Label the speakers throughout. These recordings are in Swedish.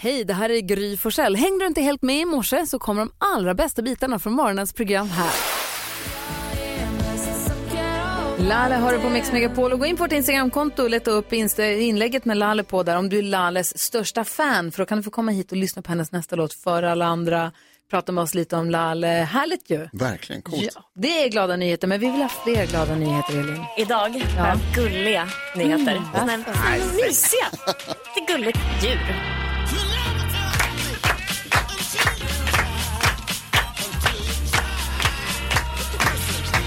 Speaker 1: Hej, det här är Gry Forssell. Hängde du inte helt med i morse så kommer de allra bästa bitarna från morgonens program här. Lalle hör du på Mix Megapol och gå in på vårt Instagramkonto och leta upp insta- inlägget med Lalle på där om du är Lalles största fan för då kan du få komma hit och lyssna på hennes nästa låt för alla andra. Prata med oss lite om Lalle. Härligt ju!
Speaker 2: Verkligen coolt.
Speaker 1: Ja, det är glada nyheter men vi vill ha fler glada nyheter Elin.
Speaker 3: Idag har jag gulliga nyheter. Mm, mysiga. Lite gulligt djur.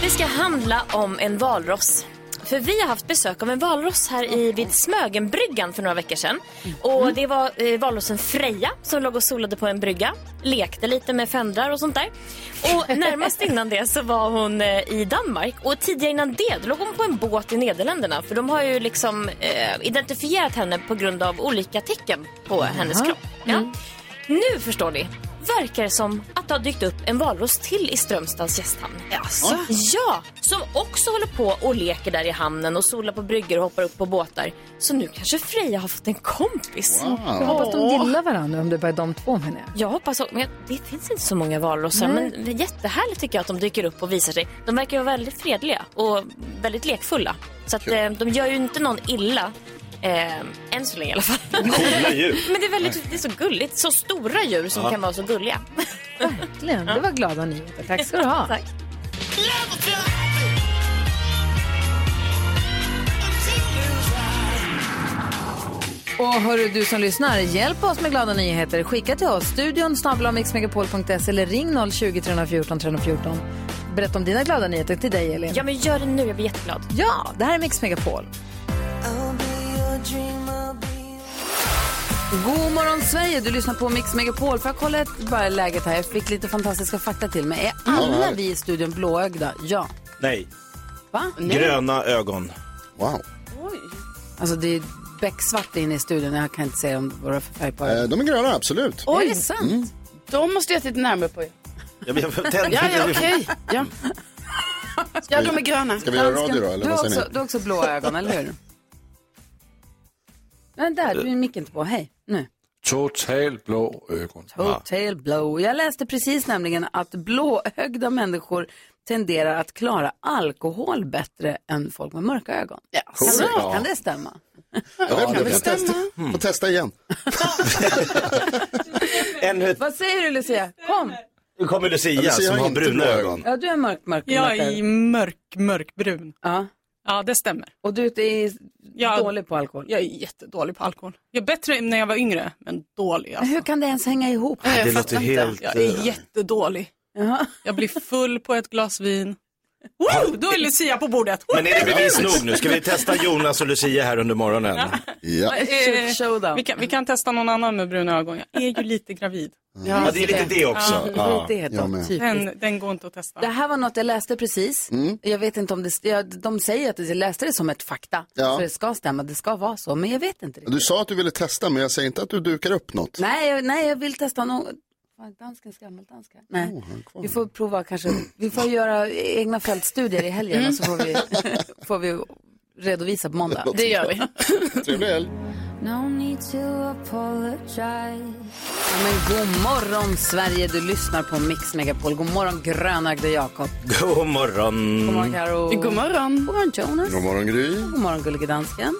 Speaker 3: Det ska handla om en valross. För vi har haft besök av en valross här i, vid Smögenbryggan för några veckor sedan. Och det var eh, valrossen Freja som låg och solade på en brygga. Lekte lite med fendrar och sånt där. Och närmast innan det så var hon eh, i Danmark. Och tidigare innan det då låg hon på en båt i Nederländerna. För de har ju liksom eh, identifierat henne på grund av olika tecken på hennes kropp. Ja. Nu förstår ni. Verkar som att det har dykt upp en valros till i Strömstads gästhamn. Ja, som också håller på och leker där i hamnen och solar på bryggor och hoppar upp på båtar. Så nu kanske Freja har fått en kompis.
Speaker 1: Jag
Speaker 2: Wow.
Speaker 1: hoppas de gillar varandra om det bara är de två menar
Speaker 3: Jag
Speaker 1: jag.
Speaker 3: hoppas också, men jag- det finns inte så många valrossar men det är jättehärligt tycker jag att de dyker upp och visar sig. De verkar vara väldigt fredliga och väldigt lekfulla. Så att, eh, de gör ju inte någon illa. Eh, än så länge i alla fall. Men det är, väldigt, det är så gulligt. Så stora djur som kan vara så gulliga.
Speaker 1: Verkligen, det var glada nyheter. Tack ska du ha.
Speaker 3: Tack.
Speaker 1: Och hörru du som lyssnar, hjälp oss med glada nyheter. Skicka till oss, studion snabel-a mixmegapol.se eller ring 020 314 314. Berätta om dina glada nyheter till dig Elin.
Speaker 3: Ja men gör det nu, jag blir jätteglad.
Speaker 1: Ja, det här är Mix Megapol. God morgon Sverige, du lyssnar på Mix Megapol. Får jag kolla ett, bara läget här? Jag fick lite fantastiska fakta till mig. Är alla
Speaker 2: härligt.
Speaker 1: vi i studion blåögda? Ja.
Speaker 4: Nej,
Speaker 1: Va?
Speaker 4: gröna ögon.
Speaker 2: wow.
Speaker 1: Alltså det är becksvart inne i studion. Jag kan inte säga om vad det är för färg på
Speaker 2: Eh,
Speaker 1: ögonen.
Speaker 2: De är gröna, absolut. Mm.
Speaker 1: Är det sant?
Speaker 5: De måste jag titta närmare på. er.
Speaker 4: Jag blev tänd.
Speaker 5: Ja, ja, okej. Ja. ja, de är gröna.
Speaker 2: Ska vi göra radio då, eller
Speaker 1: du, har
Speaker 2: vad säger
Speaker 1: också,
Speaker 2: ni?
Speaker 1: du har också blå ögon, eller hur? Men där, du är micken inte på. Hej, nu.
Speaker 6: Total blå Ah. ögon.
Speaker 1: Hotel blow. Jag läste precis nämligen att blåögda människor tenderar att klara alkohol bättre än folk med mörka ögon. Kan,
Speaker 2: Coolt.
Speaker 1: det,
Speaker 2: Ja.
Speaker 1: kan det stämma?
Speaker 2: Jag vet
Speaker 5: kan
Speaker 2: inte, jag får
Speaker 5: väl
Speaker 2: testa, får testa igen.
Speaker 4: Ännu ett.
Speaker 1: Vad säger du Lucia? Kom!
Speaker 4: Nu kommer Lucia
Speaker 2: Lucia
Speaker 4: som
Speaker 2: har
Speaker 4: har
Speaker 2: inte
Speaker 4: bruna
Speaker 2: blå
Speaker 4: ögon.
Speaker 1: Ja, du är mörk, mörk,
Speaker 7: Jag
Speaker 1: mörk.
Speaker 7: är
Speaker 1: ögon.
Speaker 7: mörk, mörkbrun.
Speaker 1: Ja.
Speaker 7: Ja, det stämmer.
Speaker 1: Och du är
Speaker 7: Jag,
Speaker 1: dålig på alkohol.
Speaker 7: jag är jättedålig på alkohol. Jag är bättre när jag var yngre, men dålig
Speaker 1: Men
Speaker 7: alltså.
Speaker 1: Hur kan det ens hänga ihop?
Speaker 5: Jag
Speaker 4: Det
Speaker 5: fattar
Speaker 4: låter
Speaker 5: inte.
Speaker 4: helt...
Speaker 7: Jag är jättedålig.
Speaker 1: Jaha.
Speaker 7: Jag blir full på ett glas vin. Woo! Då är Lucia på bordet. Woo!
Speaker 4: Men är det bevis nog nu? Ska vi testa Jonas och Lucia här under morgonen?
Speaker 2: Ja.
Speaker 7: Eh,
Speaker 1: Showdown.
Speaker 7: vi, kan, vi kan testa någon annan med bruna ögon. Jag är ju lite gravid.
Speaker 4: Ja, det är lite det också. Ja.
Speaker 1: Det är
Speaker 2: jag
Speaker 1: då,
Speaker 2: med.
Speaker 1: typiskt.
Speaker 7: Den, den går inte att testa.
Speaker 1: Det här var något jag läste precis. Jag vet inte om det, jag, de säger att jag läste det som ett fakta.
Speaker 2: Ja.
Speaker 1: Så det ska stämma, det ska vara så, men jag vet inte riktigt.
Speaker 2: Du sa att du ville testa, men jag säger inte att du dukar upp något.
Speaker 1: Nej, jag, nej, jag vill testa någon. Fan, Danskens gammeldanska. Nej, vi får prova kanske. Vi får göra egna fältstudier i helgen och så får vi, får vi redovisa på måndag.
Speaker 5: Det gör vi.
Speaker 2: Trevlig helg.
Speaker 1: Ja, men god morgon Sverige, du lyssnar på Mix Megapol. God morgon grönögde Jakob.
Speaker 4: God morgon.
Speaker 1: God morgon Karo.
Speaker 5: God morgon.
Speaker 1: God morgon Jonas.
Speaker 2: God morgon Gry.
Speaker 1: God morgon gullige dansken.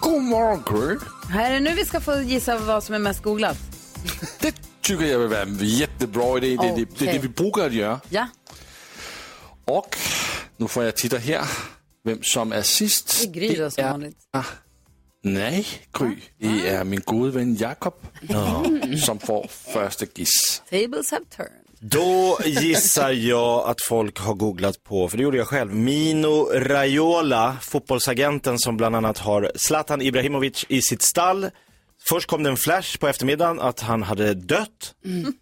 Speaker 6: God morgon, Gry.
Speaker 1: Här är nu vi ska få gissa vad som är mest googlat.
Speaker 6: Det tycker jag vill vara en jättebra idé. Det, det, det, är det vi brukar att göra.
Speaker 1: Ja.
Speaker 6: Och nu får jag titta här. Vem som är sist.
Speaker 1: Det är Gry då som vanligt.
Speaker 6: Nej, Gry. Det
Speaker 5: Ah.
Speaker 6: är min gode vän Jakob som får första giss.
Speaker 1: Tables have turned.
Speaker 4: Då gissar jag att folk har googlat på, för det gjorde jag själv, Mino Raiola, fotbollsagenten som bland annat har Zlatan Ibrahimovic i sitt stall. Först kom det en flash på eftermiddagen att han hade dött.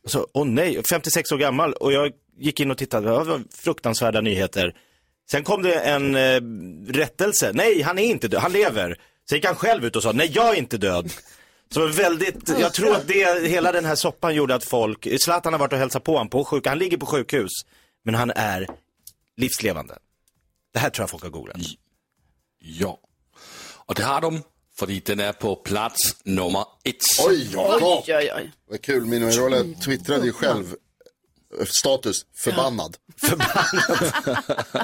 Speaker 4: Och Så, åh nej, 56 år gammal och jag gick in och tittade, det var fruktansvärda nyheter. Sen kom det en eh, rättelse, nej han är inte död, han lever. Sen gick han själv ut och sa, nej jag är inte död. Så väldigt, jag tror att det, hela den här soppan gjorde att folk, Zlatan har varit och hälsat på honom på sjuk, han ligger på sjukhus, men han är livslevande. Det här tror jag folk har googlat.
Speaker 6: Ja. Och det har de fordi den är på plats nummer ett.
Speaker 2: Oj, Jakob!
Speaker 5: Oj, oj, oj.
Speaker 2: Vad kul, Mino Irola twittrade ju själv eh, status förbannad.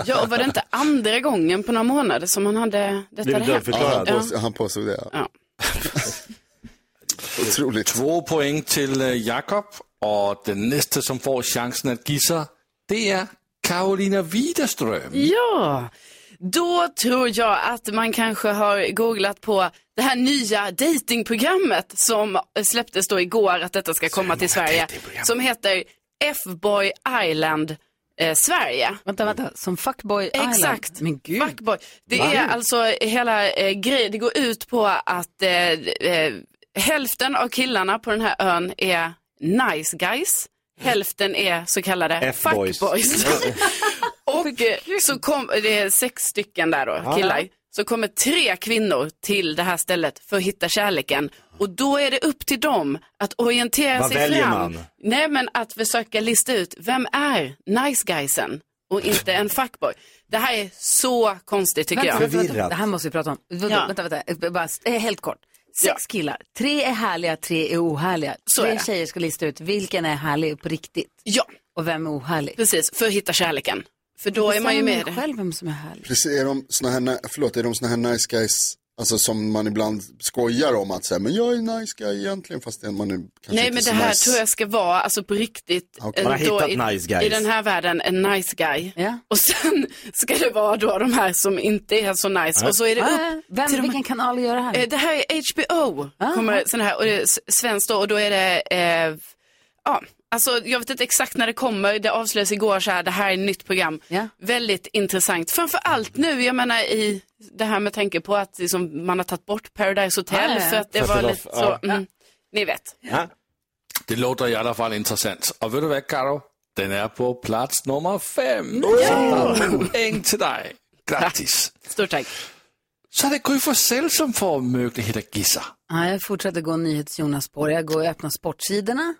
Speaker 5: Ja, och var det inte andra gången på några månader som han hade detta
Speaker 4: Blivit
Speaker 5: hade hänt?
Speaker 2: Ja,
Speaker 4: dödförklarad.
Speaker 2: han, påstod, han påstod det. Ja.
Speaker 5: Ja.
Speaker 2: Otroligt.
Speaker 6: Två poäng till eh, Jakob och den nästa som får chansen att gissa, det är Karolina Widerström.
Speaker 5: Ja, då tror jag att man kanske har googlat på det här nya datingprogrammet som släpptes då igår att detta ska komma till Sverige. Som heter F-boy Island eh, Sverige.
Speaker 1: Vänta, vänta, som fuckboy Island.
Speaker 5: Exakt.
Speaker 1: Men gud.
Speaker 5: Fuckboy. Det är alltså hela eh, grejen, det går ut på att eh, eh, hälften av killarna på den här ön är nice guys. Hälften är så
Speaker 4: Eh,
Speaker 5: kallade
Speaker 4: F-boys.
Speaker 5: fuckboys. och eh, så kom, det är sex stycken där då, killar. Så kommer tre kvinnor till det här stället för att hitta kärleken. Och då är det upp till dem att orientera
Speaker 4: Vad
Speaker 5: sig
Speaker 4: väljer
Speaker 5: fram.
Speaker 4: man?
Speaker 5: Nej, men att försöka lista ut vem är nice guysen och inte en fuckboy. Det här är så konstigt tycker
Speaker 1: Vänta,
Speaker 5: jag.
Speaker 1: vänta, vänta.
Speaker 4: Förvirrat.
Speaker 1: Det här måste vi prata om. Vänta,
Speaker 5: Ja.
Speaker 1: vänta, vänta. Eh, Bara, eh, helt kort. Sex killar, tre är härliga, tre är ohärliga.
Speaker 5: Så
Speaker 1: tre
Speaker 5: är det.
Speaker 1: tjejer ska lista ut vilken är härlig på riktigt
Speaker 5: Ja,
Speaker 1: och vem är ohärlig.
Speaker 5: precis. För att hitta kärleken. För då är man ju med i
Speaker 1: Bestämmer
Speaker 5: det.
Speaker 1: själv vem som är härlig.
Speaker 2: Precis, är de såna här, ni- förlåt, är de såna här nice guys, alltså som man ibland skojar om att säga, men jag är nice guy egentligen, fast det- man är kanske
Speaker 5: Nej,
Speaker 2: inte
Speaker 5: men
Speaker 2: så
Speaker 5: det här
Speaker 2: nice.
Speaker 5: tror jag ska vara, alltså på riktigt,
Speaker 2: Okej.
Speaker 5: eh,
Speaker 4: Man har
Speaker 5: då
Speaker 4: hittat
Speaker 5: i,
Speaker 4: nice guys.
Speaker 5: i den här världen, en nice guy.
Speaker 1: Ja.
Speaker 5: Och sen ska det vara då de här som inte är så nice. Och så är det upp
Speaker 1: Ah, Vem,
Speaker 5: till de här-
Speaker 1: vilken kanal gör det här?
Speaker 5: Eh, det här är HBO, kommer sån här, och det är s- svenskt då, och då är det, eh, ja, alltså jag vet inte exakt när det kommer, det avslöjades igår så här, det här är ett nytt program.
Speaker 1: Ja.
Speaker 5: Väldigt intressant, framför allt nu, jag menar i det här med tanke på att liksom, man har tagit bort Paradise Hotel
Speaker 1: Ah, Ja, ja, ja.
Speaker 5: för att det
Speaker 4: För att
Speaker 5: var
Speaker 4: det var-
Speaker 5: lite så, mm, ni vet.
Speaker 4: Ja.
Speaker 6: Det låter i alla fall intressant. Och vet du vad, Karo? Den är på plats nummer fem. Så poäng till dig. Grattis.
Speaker 5: Stort tack.
Speaker 6: Så är det Gry Forssell som får möjlighet att gissa.
Speaker 1: Ja, Ah, jag fortsätter gå NyhetsJonas spår. Jag går och öppnar sportsidorna.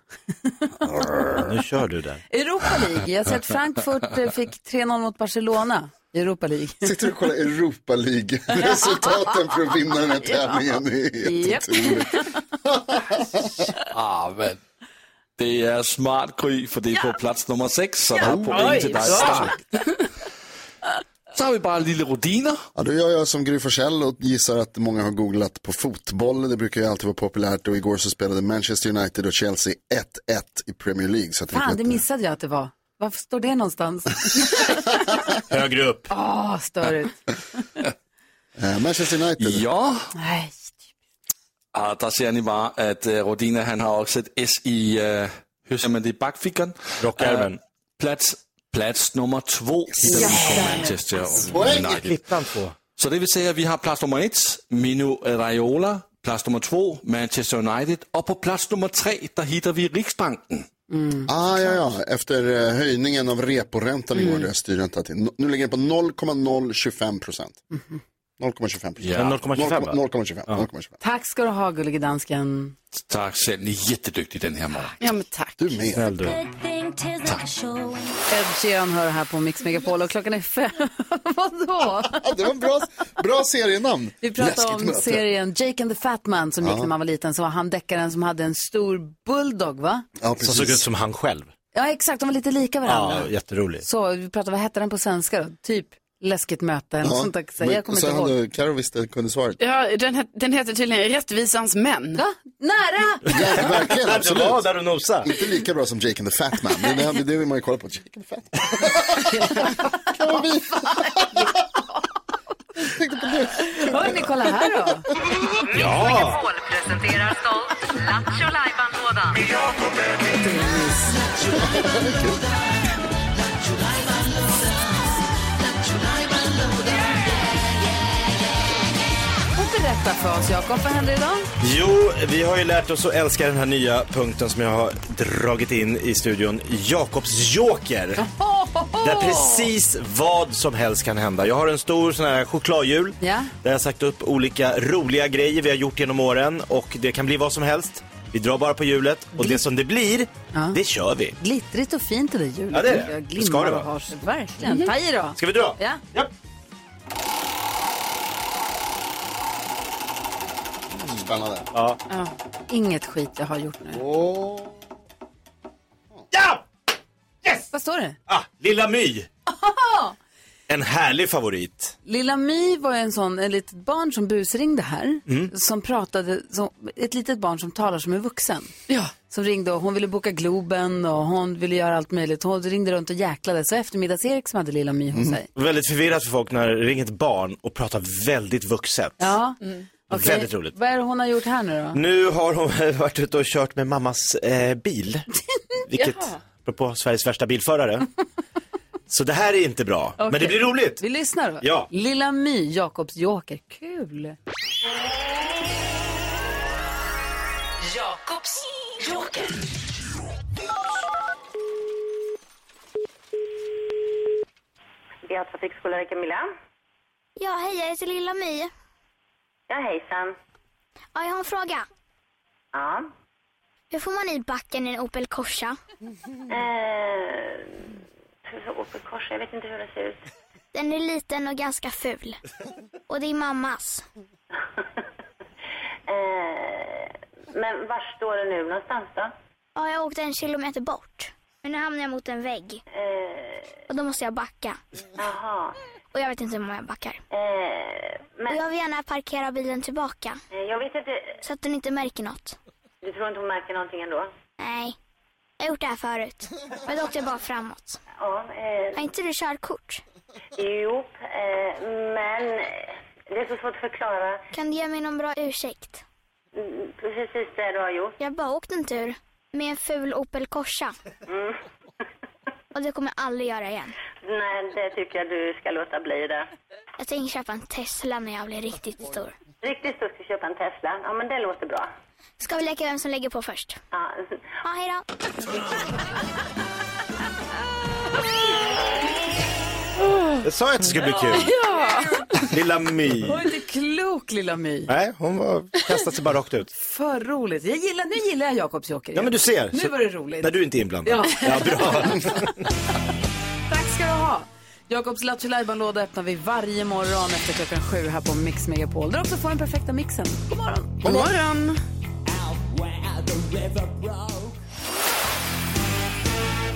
Speaker 4: Nu kör du den.
Speaker 1: Europa League. Jag ser att Frankfurt eh, fick 3-0 mot Barcelona i Europa League.
Speaker 2: Sitter du och kollar Europa League-resultaten för att vinna den här tävlingen? Det är helt otroligt.
Speaker 6: Ah, men. Det är smart Gry, för det är på plats nummer sex. Så det är poäng till dig. Starkt. Så har vi bara Lille Rodiner.
Speaker 2: Ja, då gör jag som Gry Forssell och gissar att många har googlat på fotboll. Det brukar ju alltid vara populärt och igår så spelade Manchester United och Chelsea 1-1 i Premier League. Så jag tänker
Speaker 1: Fan,
Speaker 2: att
Speaker 1: det missade jag att det var. Varför står det någonstans? Ah,
Speaker 4: Högre upp.
Speaker 1: Åh, störigt.
Speaker 2: eh, Manchester United.
Speaker 6: Ja,
Speaker 1: Nej.
Speaker 6: Ja, der ser ni bare, at øh, Rodina han har også et S i, øh, hører man det, i bakfikkeren.
Speaker 4: Rockärmen.
Speaker 6: Øh, Plads, plads nummer två i den ja. Manchester United.
Speaker 4: Klippan på.
Speaker 6: Så det vil sige, at vi har plads nummer et, Mino Raiola, plads nummer två, Manchester United, og på plads nummer tre, der hitter vi Riksbanken.
Speaker 2: Ah, ja, ja. Efter eh, höjningen av reporäntan
Speaker 1: Mm.
Speaker 2: igår, där styrräntan till. No- Nu ligger den på 0,025 procent. 0,25 procent.
Speaker 6: Ja.
Speaker 4: 0,25 va?
Speaker 2: 0,25. 0,25.
Speaker 1: Tack ska du ha, gullige dansken.
Speaker 6: Tak selv, ni er jättedygtige den her morgen.
Speaker 5: Ja men tack.
Speaker 2: Du är med.
Speaker 4: Snäll du.
Speaker 1: Ed Sheeran hör här på Mix Megapol och klockan är fem. Vadå?
Speaker 2: Ja, det var en bra, bra serienamn.
Speaker 1: Vi pratade
Speaker 2: Läskigt
Speaker 1: om
Speaker 2: möte.
Speaker 1: serien Jake and the Fat Man som gick när man var liten. Så var han deckaren som hade en stor bulldog, va?
Speaker 2: Ja,
Speaker 4: Som såg ut
Speaker 2: precis.
Speaker 4: som han själv.
Speaker 1: Ja, exakt. De var lite lika varandra.
Speaker 4: Ja, jätterolig.
Speaker 1: Så, vi pratade, vad hette den på svenska då? Typ läskigt möte eller
Speaker 2: Ja,
Speaker 1: sånt där. Så
Speaker 2: men
Speaker 1: Jag kommer
Speaker 2: så
Speaker 1: inte ihåg.
Speaker 2: hade Carro visste kunde svaret.
Speaker 5: Ja, den, het- den heter tydligen Rättvisans män.
Speaker 1: Va? Nära!
Speaker 2: Ja, verkligen, absolut.
Speaker 4: där du nosade.
Speaker 2: Inte lika bra som Jake and the Fat Man, men det, här- det vill man ju kolla på. Jake and the Fat Man. Kan man bli-
Speaker 1: Hörni, kolla här då.
Speaker 4: Ja!
Speaker 1: Och berätta för oss, Jakob, vad händer idag?
Speaker 4: Jo, vi har ju lärt oss att älska den här nya punkten som jag har dragit in i studion. Jakobs joker. Där precis vad som helst kan hända. Jag har en stor sån här chokladhjul.
Speaker 1: Ja.
Speaker 4: Där jag har sagt upp olika roliga grejer vi har gjort genom åren. Och det kan bli vad som helst. Vi drar bara på hjulet. Och det som det blir, det kör vi.
Speaker 1: Glittrigt och fint i det hjulet.
Speaker 4: Ja, det är det.
Speaker 1: Jag
Speaker 4: Det
Speaker 1: glimmar
Speaker 4: ska det
Speaker 1: och
Speaker 4: vara.
Speaker 1: har sig. Verkligen. Ta i då.
Speaker 4: Ska vi dra?
Speaker 1: Ja.
Speaker 4: Ja.
Speaker 2: spännande.
Speaker 4: Ja.
Speaker 5: Ja. Inget skit jag har gjort nu.
Speaker 2: Åh.
Speaker 4: ja!
Speaker 1: Vad står det?
Speaker 4: Ah, Lilla My. En härlig favorit.
Speaker 1: Lilla My var ju en sån, ett litet barn som busringde här.
Speaker 4: Mm.
Speaker 1: Som pratade, som, ett litet barn som talar som en vuxen.
Speaker 5: Ja.
Speaker 1: Som ringde och hon ville boka Globen och hon ville göra allt möjligt. Hon ringde runt och jäklade. Så eftermiddags-Erik som hade Lilla My
Speaker 4: Mm.
Speaker 1: hos sig.
Speaker 4: Väldigt förvirrat för folk när det ringer ett barn och pratar väldigt vuxet.
Speaker 1: Ja. Okej.
Speaker 4: Väldigt roligt.
Speaker 1: Vad är det hon har gjort här nu då?
Speaker 4: Nu har hon varit ute och kört med mammas eh, bil. Vilket, apropå Sveriges värsta bilförare. Så det här är inte bra. Men det blir roligt.
Speaker 1: Vi lyssnar då.
Speaker 4: Ja.
Speaker 1: Lilla My, Jakobs joker. Kul.
Speaker 8: Ja, trafikskola Camilla.
Speaker 9: Ja, hej, jag heter Lilla My.
Speaker 8: Ja, hejsan.
Speaker 9: Ja, jag har en fråga.
Speaker 8: Ja.
Speaker 9: Hur får man i backen i en Opel Corsa?
Speaker 8: Eh, Opel Corsa, jag vet inte hur det ser ut.
Speaker 9: Den är liten och ganska ful. Och det är mammas.
Speaker 8: Eh, men var står det nu någonstans då?
Speaker 9: Ja, jag åkte en kilometer bort. Men nu hamnar jag mot en vägg.
Speaker 8: Eh,
Speaker 9: Och då måste jag backa.
Speaker 8: Jaha.
Speaker 9: Och jag vet inte hur många jag backar.
Speaker 8: Eh,
Speaker 9: Och
Speaker 8: men
Speaker 9: jag vill gärna parkera bilen tillbaka.
Speaker 8: eh, jag vet inte,
Speaker 9: Så att den inte märker något.
Speaker 8: du tror inte hon märker någonting ändå?
Speaker 9: Nej. Jag har gjort det här förut. Men då åkte jag bara framåt.
Speaker 8: Ja, eh,
Speaker 9: Har inte du körkort?
Speaker 8: jo, eh, men det är så svårt att förklara
Speaker 9: Kan du ge mig någon bra ursäkt?
Speaker 8: mm, precis det du har gjort.
Speaker 9: Jag bara åkte en tur med en ful Opel Corsa.
Speaker 8: Mm.
Speaker 9: Och det kommer jag aldrig göra igen.
Speaker 8: Nej, det tycker jag du ska låta bli det.
Speaker 9: Jag tänker köpa en Tesla när jag blir riktigt stor.
Speaker 8: Riktigt stort att köpa en Tesla. Ja, men det låter bra.
Speaker 9: Ska vi leka vem som lägger på först?
Speaker 8: Ja.
Speaker 9: Ja, hej då.
Speaker 4: Jag sa att det skulle bli kul. Lilla My.
Speaker 1: Hon är inte klok, Lilla My.
Speaker 4: Nej, hon var, kastade sig bara rakt ut.
Speaker 1: För roligt. Jag gillar, nu gillar jag Jakobs joker.
Speaker 4: Ja, men du ser.
Speaker 1: Nu
Speaker 4: Så-
Speaker 1: var det roligt.
Speaker 4: När du inte är inblandad.
Speaker 1: Ja.
Speaker 4: bra.
Speaker 1: Tack ska du ha. Jakobs Lattjo låda öppnar vi varje morgon efter klockan sju här på Mix Megapol. Där också får den perfekta mixen. God morgon.
Speaker 5: God morgon.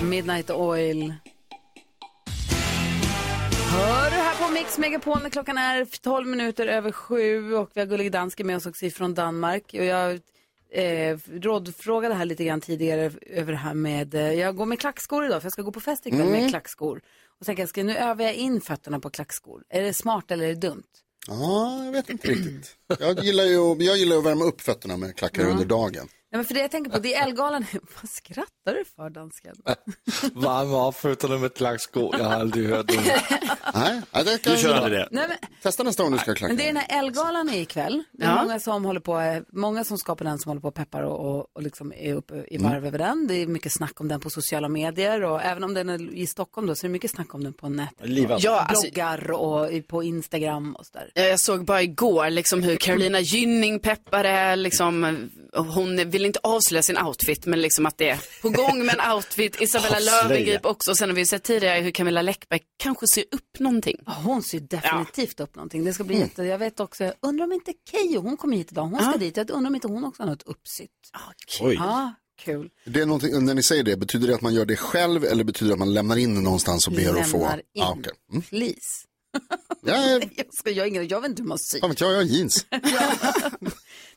Speaker 1: Midnight Oil. Hör du här på Mix Megapol när klockan är 12 minuter över sju och vi har Gullig Danske med oss också från Danmark. Och jag eh, rådfrågade här lite grann tidigare över det här med, eh, jag går med klackskor idag för jag ska gå på fest ikväll
Speaker 4: Mm.
Speaker 1: med klackskor. Och tänker jag, ska, nu övar jag in fötterna på klackskor. Är det smart eller är det dumt?
Speaker 2: Ja, jag vet inte riktigt. Jag gillar ju att- jag gillar att värma upp fötterna med klackar under dagen.
Speaker 1: Nej, men för det jag tänker på, det är Ellegalan. Vad skrattar du för dansken?
Speaker 6: Varma upp fötterna med klackskor. Jag har aldrig hört det.
Speaker 2: Nej, ja, det kan
Speaker 4: Du kör
Speaker 2: jag
Speaker 4: aldrig det.
Speaker 2: gilla.
Speaker 1: Nej, men,
Speaker 2: Testa nästa gång du ska ha
Speaker 1: men
Speaker 2: klackar.
Speaker 1: det är den här Ellegalan är ikväll. Det är
Speaker 5: Ja.
Speaker 1: många som håller på, eh, många som skapar den som håller på och peppar och, och, och liksom är uppe i
Speaker 5: Mm.
Speaker 1: varv över den. Det är mycket snack om den på sociala medier och även om den är i Stockholm då så är det mycket snack om den på nätet.
Speaker 4: Livad.
Speaker 5: Ja, alltså,
Speaker 1: Bloggar och i- på Instagram och sådär.
Speaker 5: Eh, jag såg bara igår liksom hur Carolina Gynning peppade, liksom, hon vill inte avslöja sin outfit, men liksom att det är på gång med en outfit. Isabella
Speaker 4: Avslöja.
Speaker 5: Löwengrip också. Sen har vi ju sett tidigare hur Camilla Läckberg kanske ser upp någonting.
Speaker 1: Ja, Hon ser ju definitivt upp någonting. Det ska bli jätte... Jag vet också, jag undrar om inte Keyyo, hon kommer hit idag, hon ska dit. Jag undrar om inte hon också har något uppsitt.
Speaker 4: Oj.
Speaker 1: Ja, kul.
Speaker 2: Det är någonting, när ni säger det, betyder det att man gör det själv eller betyder det att man lämnar in det någonstans och ber att få?
Speaker 1: Lämnar in.
Speaker 2: Ja, okej. mm.
Speaker 1: Please.
Speaker 2: jag,
Speaker 1: Jag, ska, jag, har ingen, jag vet inte hur man syr.
Speaker 2: fan vet jag, jag har jeans.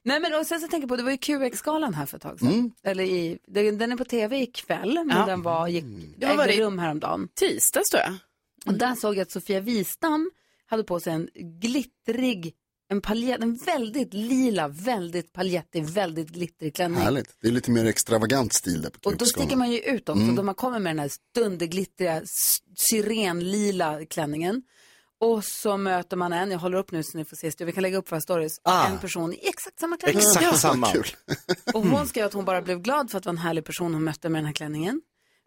Speaker 1: Nej men och sen så tänker jag på, det var ju QX-galan här för ett tag sedan.
Speaker 2: Mm,
Speaker 1: Eller i, den den är på tv ikväll, men
Speaker 5: Ja.
Speaker 1: den var, gick,
Speaker 2: Mm.
Speaker 5: Det var
Speaker 1: ägde
Speaker 5: det- Typ.
Speaker 1: rum häromdagen.
Speaker 5: Tisdags tror jag.
Speaker 1: Och där såg jag att Sofia Wistam hade på sig en glittrig, en paljett, en väldigt lila, väldigt paljettig, väldigt glittrig klänning.
Speaker 2: Härligt. Det är lite mer extravagant stil där på
Speaker 1: Och då sticker man ju ut också,
Speaker 4: Mm.
Speaker 1: då man kommer med den här dunderglittriga s- syrenlila klänningen. Och så möter man en, jag håller upp nu så ni får se, vi kan lägga upp våra stories, en person i exakt samma klänning.
Speaker 4: Ah. Exakt samma. Mm.
Speaker 2: Kul.
Speaker 1: Och hon skrev att hon bara blev glad för att det var en härlig person hon mötte med den här klänningen.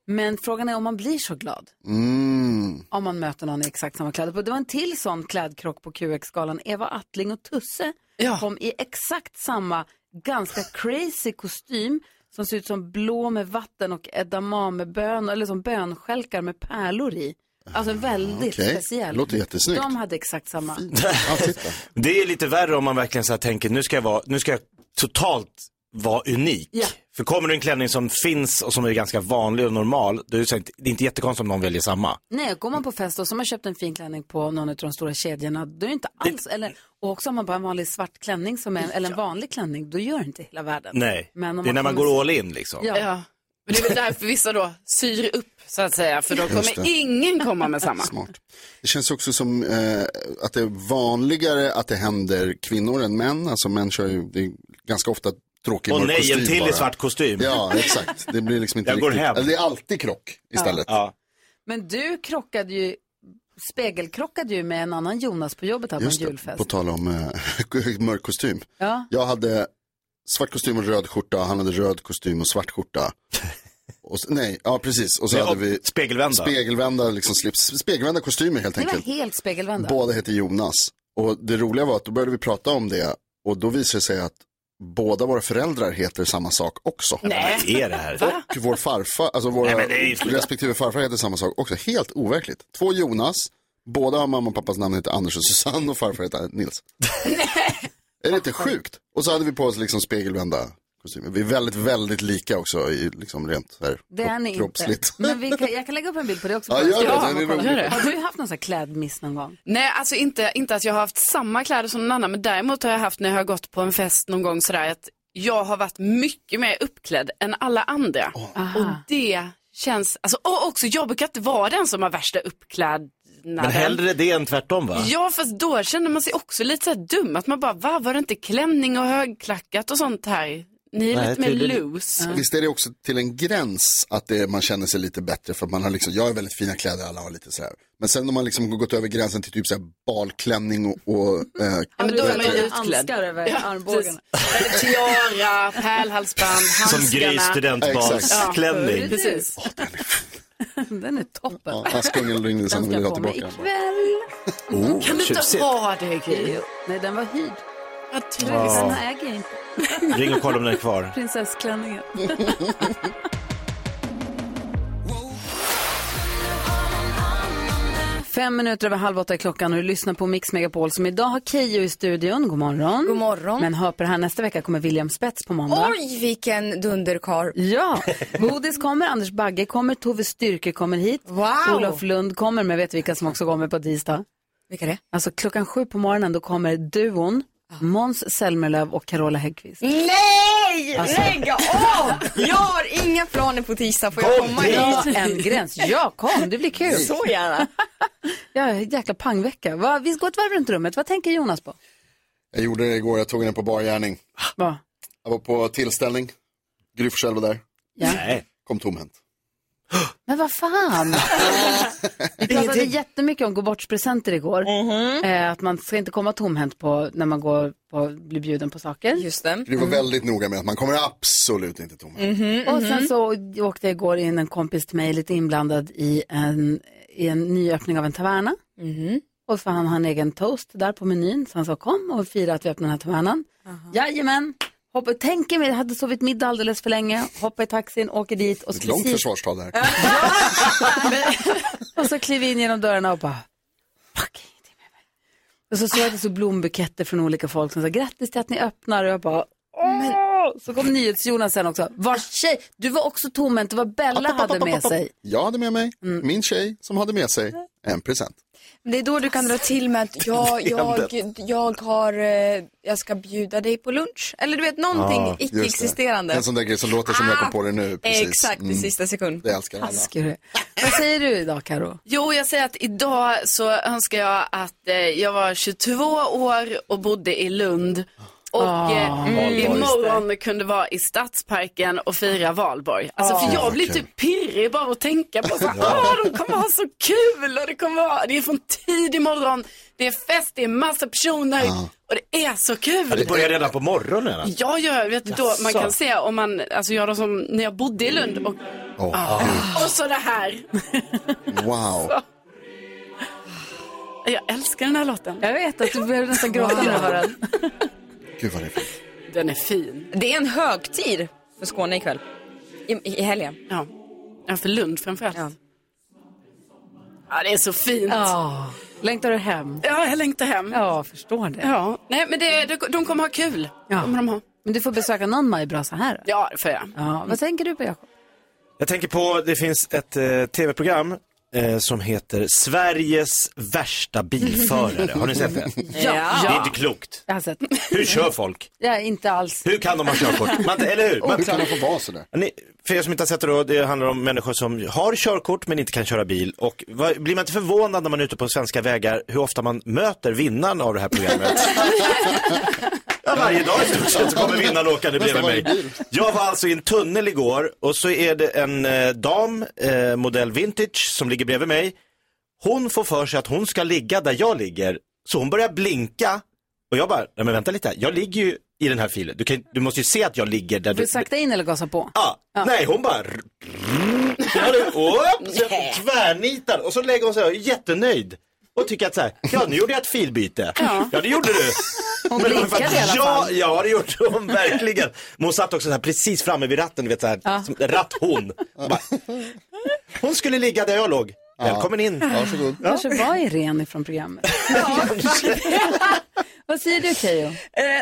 Speaker 1: Men frågan är om man blir så glad
Speaker 2: Mm.
Speaker 1: om man möter någon i exakt samma kläder. på. Det var en till sån klädkrock på QX-galan. Eva Attling och Tusse kom i exakt samma ganska crazy kostym som ser ut som blå med vatten och edamamebönor, eller som bönstjälkar med pärlor i.
Speaker 4: Ah,
Speaker 1: Alltså en väldigt
Speaker 2: Okej.
Speaker 1: speciell.
Speaker 2: Låter jättesnyggt.
Speaker 1: De hade exakt samma.
Speaker 2: Ja, titta.
Speaker 1: typ
Speaker 4: Det är lite värre om man verkligen så här tänker, nu ska jag, vara, nu ska jag totalt vara unik. För kommer du en klänning som finns och som är ganska vanlig och normal, då är det, så inte, det är inte jättekonstigt om någon väljer samma.
Speaker 1: Nej, går man på fest och så har man köpt en fin klänning på någon av de stora kedjorna, då är det inte alls, eller, och också om man bara har en vanlig svart klänning som är, eller en vanlig klänning, då gör det inte hela världen.
Speaker 4: Nej,
Speaker 1: Men om
Speaker 4: det är när man
Speaker 1: kommer-
Speaker 4: går all in liksom.
Speaker 1: Ja.
Speaker 5: Ja. Men det är väl därför vissa då syr upp så att säga, för då
Speaker 2: Just
Speaker 5: kommer
Speaker 2: det.
Speaker 5: ingen komma med samma.
Speaker 2: Smart. Det känns också som eh, att det är vanligare att det händer kvinnor än män. Alltså män kör ju det är ganska ofta tråkig
Speaker 4: Och
Speaker 2: mörk
Speaker 4: nej,
Speaker 2: kostym
Speaker 4: en till
Speaker 2: bara.
Speaker 4: i svart kostym.
Speaker 2: Ja, exakt. Det blir liksom inte
Speaker 4: Jag går
Speaker 2: riktigt.
Speaker 4: hem.
Speaker 2: Eller det är alltid krock istället.
Speaker 4: Ja.
Speaker 1: Men du krockade ju, spegelkrockade ju med en annan Jonas på jobbet här på en
Speaker 2: Just det,
Speaker 1: julfest.
Speaker 2: på tal om eh, mörk kostym.
Speaker 1: Ja.
Speaker 2: Jag hade svart kostym och röd skjorta, han hade röd kostym och svart skörta. Och, s- nej, ja precis. Och så
Speaker 4: Nej,
Speaker 2: hade vi
Speaker 4: och spegelvända.
Speaker 2: spegelvända, liksom slips, spegelvända kostymer helt
Speaker 1: Ni var
Speaker 2: enkelt.
Speaker 1: helt spegelvända.
Speaker 2: Båda heter Jonas. Och det roliga var att då började vi prata om det och då visade det sig att båda våra föräldrar heter samma sak också.
Speaker 5: Nej.
Speaker 4: Vad är det här?
Speaker 2: Och vår farfar, alltså våra respektive farfar heter samma sak också. Helt overkligt. Två Jonas, båda har mamma och pappas namn heter Anders och Susanne och farfar heter Nils. är det inte sjukt? Och så hade vi på oss liksom spegelvända kostymer. Vi är väldigt, väldigt lika också i liksom rent så här
Speaker 1: Det är ni inte.
Speaker 2: kroppsligt.
Speaker 1: Men vi kan, jag kan lägga upp en bild på det också.
Speaker 2: Ja,
Speaker 1: på
Speaker 2: gör det.
Speaker 1: Instagram
Speaker 2: Det är
Speaker 1: och kolla.
Speaker 2: roligt. Gör
Speaker 5: det.
Speaker 1: Har du haft någon sån här klädmiss någon gång?
Speaker 5: Nej, alltså inte, inte att jag har haft samma kläder som någon annan, men däremot har jag haft när jag har gått på en fest någon gång sådär att jag har varit mycket mer uppklädd än alla andra. Och det känns, alltså, och också jag brukar inte vara den som har värsta uppklädnaden.
Speaker 4: Men hellre det än tvärtom va?
Speaker 5: Ja, fast då känner man sig också lite så här dum, att man bara, va, var det inte klänning och högklackat och sånt här? Ni är
Speaker 4: Nej,
Speaker 5: lite mer
Speaker 4: tydligen-
Speaker 5: loose.
Speaker 2: Visst är det också till en gräns att det, man känner sig lite bättre för att man har liksom, jag har väldigt fina kläder, alla har lite så här. Men sen när man liksom gått över gränsen till typ så här balklänning och, och eh,
Speaker 5: Ja, men då är man ju utklädd.
Speaker 1: Handskar över armbågarna.
Speaker 5: Precis. Tiara, pärlhalsband,
Speaker 4: Som
Speaker 5: handskarna.
Speaker 4: Grys studentbalsklänning.
Speaker 5: Precis.
Speaker 1: Den är toppen.
Speaker 2: ja, Askungen ringde sen
Speaker 1: Den
Speaker 2: och
Speaker 1: ska
Speaker 2: ville
Speaker 1: jag
Speaker 2: ha
Speaker 1: på mig
Speaker 2: tillbaka.
Speaker 1: ikväll.
Speaker 4: Oh,
Speaker 5: Kan du inte
Speaker 4: tjusigt.
Speaker 5: ha det, Gry?
Speaker 1: Jo, Nej, den var hyrd.
Speaker 5: Vad
Speaker 1: Den
Speaker 5: trist.
Speaker 1: här äger jag inte.
Speaker 4: Ring och kolla om den är kvar.
Speaker 1: Prinsessklänningen. Fem minuter över halv åtta är klockan och du lyssnar på Mix Megapol som idag har Keyyo i studion. God morgon.
Speaker 10: God morgon.
Speaker 1: Men hör på det här, nästa vecka kommer William Spets på måndag.
Speaker 10: Oj, vilken dunderkarl.
Speaker 1: Ja, Bodis kommer, Anders Bagge kommer, Tove Styrke kommer hit.
Speaker 10: Wow.
Speaker 1: Olof Lund kommer, men vet vilka som också kommer på tisdag?
Speaker 10: Vilka är det? Ah.
Speaker 1: Alltså klockan sju på morgonen då kommer duon Måns Zelmerlöw och Carola Häggkvist.
Speaker 10: Nej!
Speaker 2: Alltså.
Speaker 10: Lägg av! Jag har inga planer på tisdag. Får jag komma
Speaker 1: Ja,
Speaker 10: hit?
Speaker 1: en gräns. Ja, kom, det blir kul.
Speaker 10: Oh Så gärna.
Speaker 1: Ja, jäkla pangvecka. Va, vi går ett varv runt rummet. Vad tänker Jonas på?
Speaker 2: Jag gjorde det igår, jag tog den på bar gärning.
Speaker 1: Va?
Speaker 2: Jag var på tillställning, Gry Forssell var där,
Speaker 4: Nej.
Speaker 2: kom tomhänt.
Speaker 1: Men vad fan! Vi pratade jättemycket om gå bort-presenter igår.
Speaker 10: Mhm.
Speaker 1: Eh, att man ska inte komma tomhänt på, när man går på, blir bjuden på saker.
Speaker 10: Just
Speaker 5: Mm.
Speaker 10: det.
Speaker 2: Gry var väldigt noga med att man kommer absolut inte tomhänt.
Speaker 10: Mhm,
Speaker 1: Och sen så åkte jag igår in en kompis till mig lite inblandad i en, i en nyöppning av en taverna.
Speaker 10: Mhm.
Speaker 1: Och för han har en egen toast där på menyn. Så han sa kom och fira att vi öppnar den här tavernan. Jajamän! Hoppa, tänker mig, jag hade sovit middag alldeles för länge. Hoppa i taxin, åker dit och
Speaker 2: Ett
Speaker 1: så,
Speaker 2: långt
Speaker 1: precis,
Speaker 2: försvarstal det här.
Speaker 1: och så kliver jag in genom dörrarna och bara fuck ingenting med mig. Och så såg jag det så blombuketter från olika folk som sa grattis till att ni öppnar och jag bara Åh! Så kom NyhetsJonas sen också. Vars tjej, du var också tomhänt, det var Bella hade med sig. Mm.
Speaker 2: Jag hade med mig min tjej som hade med sig en present.
Speaker 10: Det är då du kan dra till med att jag, jag, jag, har, eh, jag ska bjuda dig på lunch. Eller du vet, någonting
Speaker 4: Ja, just
Speaker 2: Just det.
Speaker 10: icke-existerande. Ah,
Speaker 2: En sån där grej som låter som jag kom på det nu. Precis. Mm.
Speaker 10: Exakt, i sista sekund.
Speaker 2: Det älskar alla.
Speaker 1: Ska du- Vad säger du idag Karo?
Speaker 5: Jo, jag säger att idag så önskar jag att eh, jag var 22 år och bodde i Lund. Och
Speaker 1: Ah,
Speaker 5: eh, mm, imorgon kunde vara i Stadsparken och fira valborg. Alltså
Speaker 1: Ah,
Speaker 5: för jag blir typ pirrig bara av att tänka på så här, "Åh, de kommer ha så kul och det kommer vara, det är från tidig morgon, det är fest, det är massa personer
Speaker 1: Ah.
Speaker 5: och det är så kul.
Speaker 4: Det börjar redan på morgonen. alltså.
Speaker 5: Ja, jag vet då, man
Speaker 4: Jaså.
Speaker 5: kan se om man, alltså jag då som, när jag bodde i Lund och, ah. och så det här.
Speaker 2: Wow.
Speaker 5: Jag älskar den här låten.
Speaker 1: Jag vet att du behöver nästan gråta när du hör den.
Speaker 2: Gud vad det är fint.
Speaker 5: Den är fin.
Speaker 10: Det är en högtid för Skåne ikväll. I, i helgen.
Speaker 5: Ja, ja för Lund framförallt. Ja.
Speaker 10: Ja.
Speaker 5: ja, det är så fint. Ja,
Speaker 1: Oh. Längtar du hem?
Speaker 5: jag längtar hem. Ja.
Speaker 1: Ja, förstår det.
Speaker 5: Nej, men det, de, de kommer ha kul.
Speaker 1: Ja.
Speaker 5: Kommer de ha.
Speaker 1: Men du får besöka någon majbrasa här.
Speaker 5: Ja, det får jag.
Speaker 1: Ja, vad tänker du på Jakob?
Speaker 4: Jag tänker på, det finns ett eh, tv-program eh, som heter Sveriges värsta bilförare. Har ni sett det?
Speaker 1: Ja.
Speaker 4: Det är inte klokt.
Speaker 1: Jag har sett.
Speaker 4: Hur kör folk?
Speaker 1: Ja, inte alls.
Speaker 4: Hur kan de ha körkort? Man, eller hur?
Speaker 2: Och hur kan de få vara sådär?
Speaker 4: Ni, för er som inte har sett det då, det handlar om människor som har körkort men inte kan köra bil. Och vad, blir man inte förvånad när man är ute på svenska vägar hur ofta man möter vinnaren av det här programmet? ja, varje dag i stort sett så kommer vinnaren åkande bredvid mig. Jag var alltså i en tunnel igår och så är det en eh, dam, eh, modell vintage, som ligger bredvid mig. Hon får för sig att hon ska ligga där jag ligger, så hon börjar blinka. Och jag bara, nej men vänta lite, här. jag ligger ju i den här filen. Du, kan, du måste ju se att jag ligger där
Speaker 1: Vill
Speaker 4: du...
Speaker 1: du sakta in eller gasa på?
Speaker 4: Ah, Nej, hon bara... Så hade- Upp, så jag tvärnitar och så lägger hon sig där, jättenöjd. Och tycker att så här, ja nu gjorde jag ett filbyte. Ja, det gjorde du.
Speaker 1: Hon
Speaker 4: Men det var
Speaker 1: blinkade
Speaker 4: för att
Speaker 1: i alla
Speaker 4: ja,
Speaker 1: fall.
Speaker 4: ja, det gjorde hon verkligen. Men hon satt också så här precis framme vid ratten, du vet så här,
Speaker 1: Ja.
Speaker 4: som ratt hon. Och Bara, hon skulle ligga där jag låg. Välkommen in.
Speaker 2: Varsågod.
Speaker 1: Kanske var Irene ifrån programmet. Vad säger du Keyyo?
Speaker 10: Eh,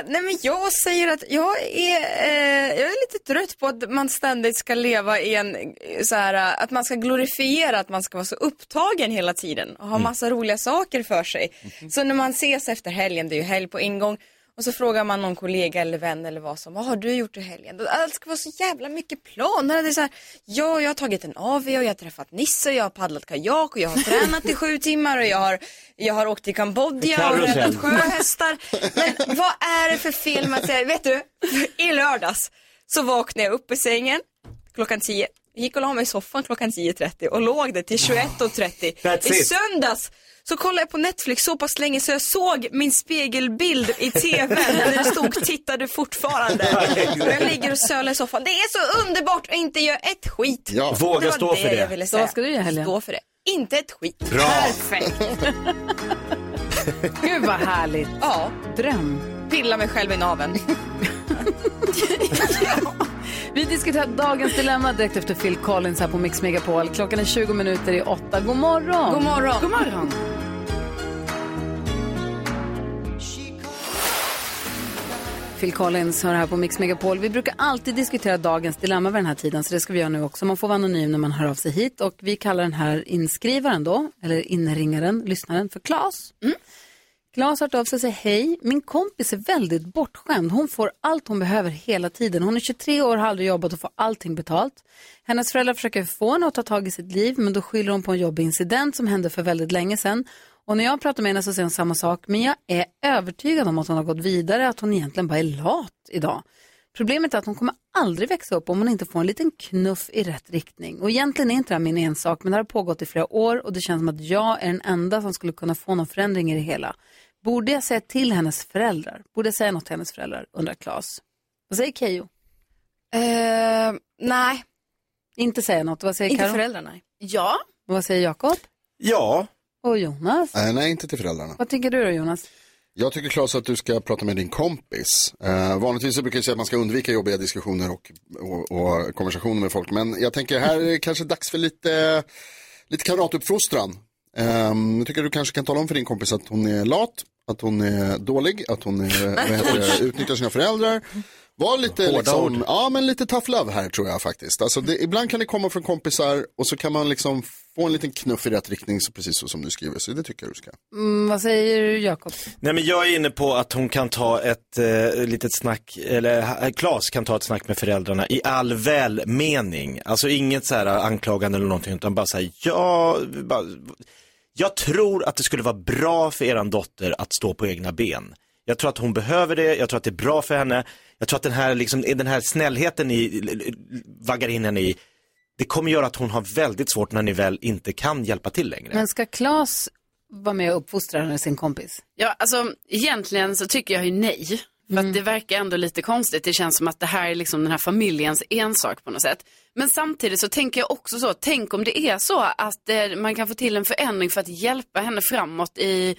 Speaker 10: nej men jag säger att jag är, eh, jag är lite trött på att man ständigt ska leva i en, eh, så här, eh, att man ska glorifiera att man ska vara så upptagen hela tiden och ha massa roliga saker för sig. Så när man ses efter helgen, det är ju helg på ingång, och så frågar man någon kollega eller vän eller vad som, vad har du gjort i helgen? Allt ska vara så jävla mycket planer. Det är så här, ja, jag har tagit en AV och jag har träffat Nisse och jag har paddlat kajak och jag har tränat i sju timmar och jag har, jag har åkt till Kambodja och
Speaker 4: Karusell.
Speaker 10: räddat sjöhästar. Men vad är det för fel med att säga, vet du, i lördags så vaknade jag upp i sängen klockan 10, gick och la mig i soffan klockan 10.30 och låg där till 21.30.
Speaker 4: That's
Speaker 10: I
Speaker 4: it.
Speaker 10: söndags så kollade jag på Netflix så pass länge så jag såg min spegelbild i TV där det stod tittar du fortfarande. Och jag ligger och sölar i soffan. Det är så underbart att inte göra ett skit.
Speaker 2: Ja.
Speaker 4: Våga
Speaker 10: det var
Speaker 4: stå för det.
Speaker 10: jag ville
Speaker 1: Så
Speaker 10: säga.
Speaker 1: vad ska du göra i helgen?
Speaker 10: Stå för det. Inte ett skit.
Speaker 4: Bra.
Speaker 1: Gud vad härligt.
Speaker 10: Ja,
Speaker 1: Dröm.
Speaker 10: pilla mig själv i naveln.
Speaker 1: Vi diskuterar dagens dilemma direkt efter Phil Collins här på Mix Megapol. Klockan är 20 minuter i åtta. God morgon!
Speaker 10: God morgon.
Speaker 1: God morgon. Phil Collins hör här på Mix Megapol. Vi brukar alltid diskutera dagens dilemma vid den här tiden, så det ska vi göra nu också. Man får vara anonym när man hör av sig hit och vi kallar den här inskrivaren då, eller inringaren, lyssnaren, för Klas. Mm. Klas har hört av sig och säger hej. Min kompis är väldigt bortskämd. Hon får allt hon behöver hela tiden. Hon är 23 år, har aldrig jobbat och får allting betalt. Hennes föräldrar försöker få henne att ta tag i sitt liv men då skyller hon på en jobbig incident som hände för väldigt länge sedan. Och när jag pratar med henne så säger hon samma sak men jag är övertygad om att hon har gått vidare, att hon egentligen bara är lat idag. Problemet är att hon kommer aldrig växa upp om hon inte får en liten knuff i rätt riktning. Och egentligen är inte det här min ensak, men det här har pågått i flera år och det känns som att jag är den enda som skulle kunna få någon förändring i det hela. Borde jag säga till hennes föräldrar? Borde jag säga något till hennes föräldrar? undrar Claes. Vad säger Keyyo?
Speaker 10: Eh, nej,
Speaker 1: Inte säga något. Vad säger
Speaker 10: inte
Speaker 1: Karo?
Speaker 10: föräldrarna.
Speaker 5: Ja,
Speaker 1: Vad säger Jakob?
Speaker 4: Ja,
Speaker 1: Och Jonas?
Speaker 2: Nej, Eh, nej, inte till föräldrarna.
Speaker 1: Vad tycker du då Jonas?
Speaker 2: Jag tycker Claes att du ska prata med din kompis. Eh, vanligtvis så brukar jag säga att man ska undvika jobbiga diskussioner och, och, och konversationer med folk. Men jag tänker här är det kanske dags för lite, lite kamratuppfostran. Eh, jag tycker du kanske kan tala om för din kompis att hon är lat, att hon är dålig, att hon är, vad heter det, utnyttjar sina föräldrar. Var lite, liksom, ja, men lite tough love här tror jag faktiskt. Alltså, det, ibland kan det komma från kompisar och så kan man liksom få en liten knuff i rätt riktning, så precis så som du skriver. Så det tycker jag du ska.
Speaker 1: Mm, vad säger du Jakob?
Speaker 4: Nej men jag är inne på att hon kan ta ett eh, litet snack, eller ha- Claes kan ta ett snack med föräldrarna i all välmening. Alltså inget så här anklagande eller någonting utan bara så här, ja, bara, jag tror att det skulle vara bra för eran dotter att stå på egna ben. Jag tror att hon behöver det, jag tror att det är bra för henne. Jag tror att den här, liksom, den här snällheten ni vaggar in henne i, det kommer göra att hon har väldigt svårt när ni väl inte kan hjälpa till längre.
Speaker 1: Men ska Claes vara med och uppfostra henne, sin kompis?
Speaker 5: Ja, alltså egentligen så tycker jag ju nej. För att det verkar ändå lite konstigt. Det känns som att det här är liksom den här familjens ensak på något sätt. Men samtidigt så tänker jag också så, tänk om det är så att eh, man kan få till en förändring för att hjälpa henne framåt i,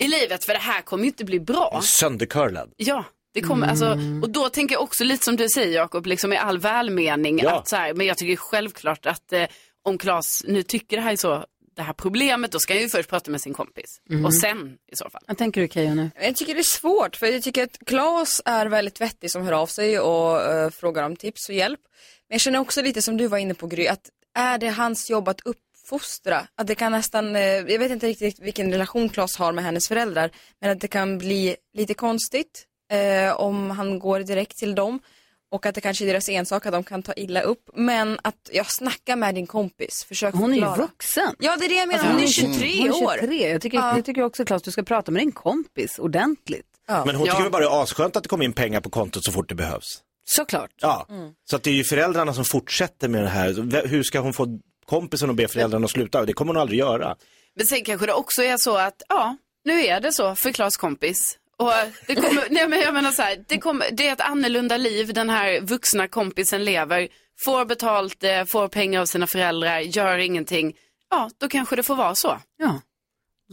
Speaker 5: i livet. För det här kommer ju inte bli bra.
Speaker 4: Söndercurlad.
Speaker 5: Ja, det kommer, alltså, och då tänker jag också lite som du säger Jakob, liksom i all välmening.
Speaker 4: Ja.
Speaker 5: Att, så här, men jag tycker självklart att eh, om Claes nu tycker det här är så det här problemet, då ska jag ju först prata med sin kompis.
Speaker 10: Mm.
Speaker 5: Och sen i så fall.
Speaker 1: Vad tänker du Keyyo nu?
Speaker 10: Jag tycker det är svårt för jag tycker att Claes är väldigt vettig som hör av sig och eh, frågar om tips och hjälp. Men jag känner också lite som du var inne på Gry, att är det hans jobb att uppfostra? Att det kan nästan, eh, jag vet inte riktigt vilken relation Claes har med hennes föräldrar, men att det kan bli lite konstigt eh, om han går direkt till dem. Och att det kanske är deras ensak att de kan ta illa upp. Men att, jag snacka med din kompis, försök
Speaker 1: Hon är ju
Speaker 10: förklara.
Speaker 1: vuxen.
Speaker 10: Ja, det är det jag menar.
Speaker 1: Alltså,
Speaker 10: Hon är 23
Speaker 1: hon är
Speaker 10: år.
Speaker 1: 23. Jag tycker,
Speaker 10: Ja.
Speaker 1: jag tycker också Claes, du ska prata med din kompis ordentligt.
Speaker 4: Men hon tycker väl bara det är asskönt att det kommer in pengar på kontot så fort det behövs.
Speaker 1: Såklart.
Speaker 4: Ja,
Speaker 10: Mm.
Speaker 4: så att det är ju föräldrarna som fortsätter med det här. V- Hur ska hon få kompisen att be föräldrarna att sluta? Det kommer hon aldrig göra.
Speaker 5: Men sen kanske det också är så att, ja, nu är det så för Klas kompis. Och det kommer, nej men jag menar så här, det, kommer, det är ett annorlunda liv den här vuxna kompisen lever. Får betalt, eh, får pengar av sina föräldrar, gör ingenting. Ja, då kanske det får vara så.
Speaker 1: Ja.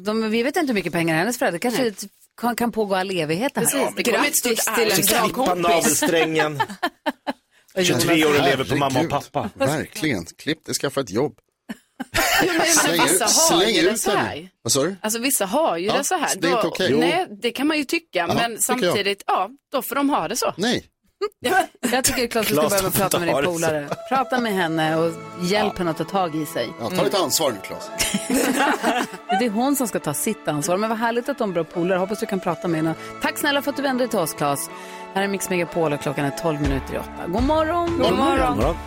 Speaker 1: De, vi vet inte hur mycket pengar hennes föräldrar kanske det kan, kan pågå all evighet. Det här.
Speaker 5: Precis, det kommer ett stort Grattis till arv. en bra
Speaker 2: Klippa navelsträngen.
Speaker 4: 23 år och lever på mamma och pappa.
Speaker 2: Verkligen. Klipp dig, skaffa ett jobb.
Speaker 5: Men vissa har ju det så
Speaker 2: den.
Speaker 5: här.
Speaker 2: Vad sa du?
Speaker 5: Alltså vissa har ju
Speaker 2: Ja,
Speaker 5: det så här.
Speaker 2: så det är inte
Speaker 5: Då-
Speaker 2: okej.
Speaker 5: Nej, det kan man ju tycka, men
Speaker 2: tycker
Speaker 5: samtidigt, ja, då får de ha det så.
Speaker 2: Nej.
Speaker 1: Jag tycker Claes, du ska börja
Speaker 2: Claes,
Speaker 1: med att
Speaker 2: du
Speaker 1: prata med din
Speaker 2: tar det
Speaker 1: polare. Prata med henne och hjälp henne att ta tag i sig. Mm.
Speaker 2: Ja,
Speaker 5: Mm.
Speaker 2: ta lite ansvar nu, Claes.
Speaker 1: Det är hon som ska ta sitt ansvar. Men vad härligt att de är bra polare. Hoppas du kan prata med henne. Tack snälla för att du vände dig till oss, Claes. Här är Mix Megapol och klockan är 12 minuter i åtta. God morgon!
Speaker 5: God morgon.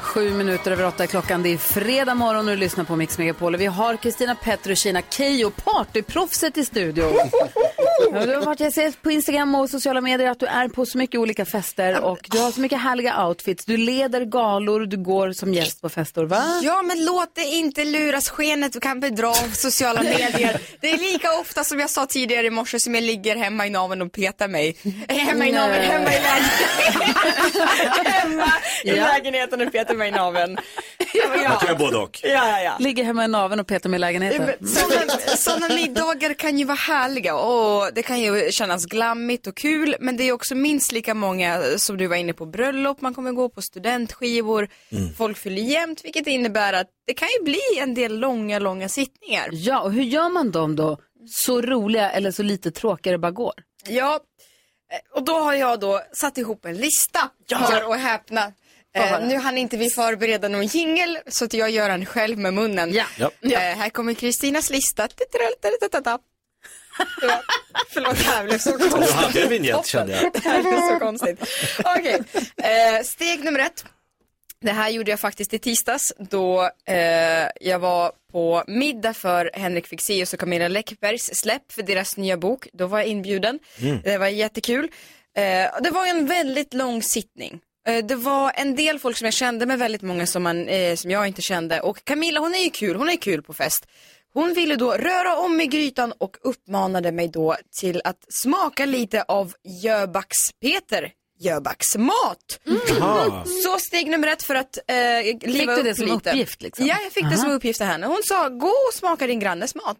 Speaker 1: Sju minuter över åtta är klockan. Det är fredag morgon och du lyssnar på Mix Megapol. Och Vi har Kristina Petrushina Keyyo, partyproffset i studion. Ja, du har varit, jag ser på Instagram och sociala medier att du är på så mycket olika fester och du har så mycket härliga outfits. Du leder galor, du går som gäst på fester, va?
Speaker 10: Ja, men låt dig inte luras. Skenet kan bedra av sociala medier. Det är lika ofta som jag sa tidigare i morse som jag ligger hemma i naveln och petar mig. Eh, Hemma i naveln,
Speaker 8: Nej.
Speaker 10: hemma i lägenheten. hemma i
Speaker 1: Ja.
Speaker 10: lägenheten och petar mig i naveln.
Speaker 4: Man kan göra både och.
Speaker 10: Ja, ja, ja.
Speaker 1: Ligger hemma i naveln och petar med lägenheten. Mm.
Speaker 10: Sådana, sådana middagar kan ju vara härliga och det kan ju kännas glammigt och kul men det är också minst lika många som du var inne på bröllop, man kommer gå på studentskivor,
Speaker 1: Mm.
Speaker 10: folk fyller jämnt vilket innebär att det kan ju bli en del långa, långa sittningar.
Speaker 1: Ja, och hur gör man dem då? Så roliga eller så lite tråkiga det bara går?
Speaker 10: Ja, eh, och då har jag då satt ihop en lista,
Speaker 1: Ja.
Speaker 10: hör och häpna.
Speaker 1: Få höra.
Speaker 10: Eh, nu hann inte vi förbereda någon jingel så att jag gör den själv med munnen.
Speaker 1: Ja.
Speaker 10: Eh, här kommer Kristinas lista. Tittaraltaratata. Ja, Förlåt, det här blev så
Speaker 4: Du
Speaker 10: konstigt.
Speaker 4: hade en vinjett kände jag.
Speaker 10: Det här blev så konstigt. Okej, eh, steg nummer ett. Det här gjorde jag faktiskt i tisdags då eh, jag var på middag för Henrik Fixeus och Camilla Läckbergs släpp för deras nya bok. Då var jag inbjuden.
Speaker 8: Mm.
Speaker 10: Det var jättekul. Eh, det var en väldigt lång sittning. Eh, det var en del folk som jag kände men väldigt många som, man, eh, som jag inte kände. Och Camilla hon är ju kul, hon är kul på fest. Hon ville då röra om i grytan och uppmanade mig då till att smaka lite av Jöbacks Peter, Jöbacks mat.
Speaker 8: Mm. Jaha.
Speaker 10: Så steg nummer ett för att eh, liva
Speaker 1: du
Speaker 10: upp
Speaker 1: det som
Speaker 10: lite.
Speaker 1: uppgift, liksom?
Speaker 10: Ja, jag fick det
Speaker 1: Aha.
Speaker 10: som uppgift det här. Hon sa, gå och smaka din grannes mat.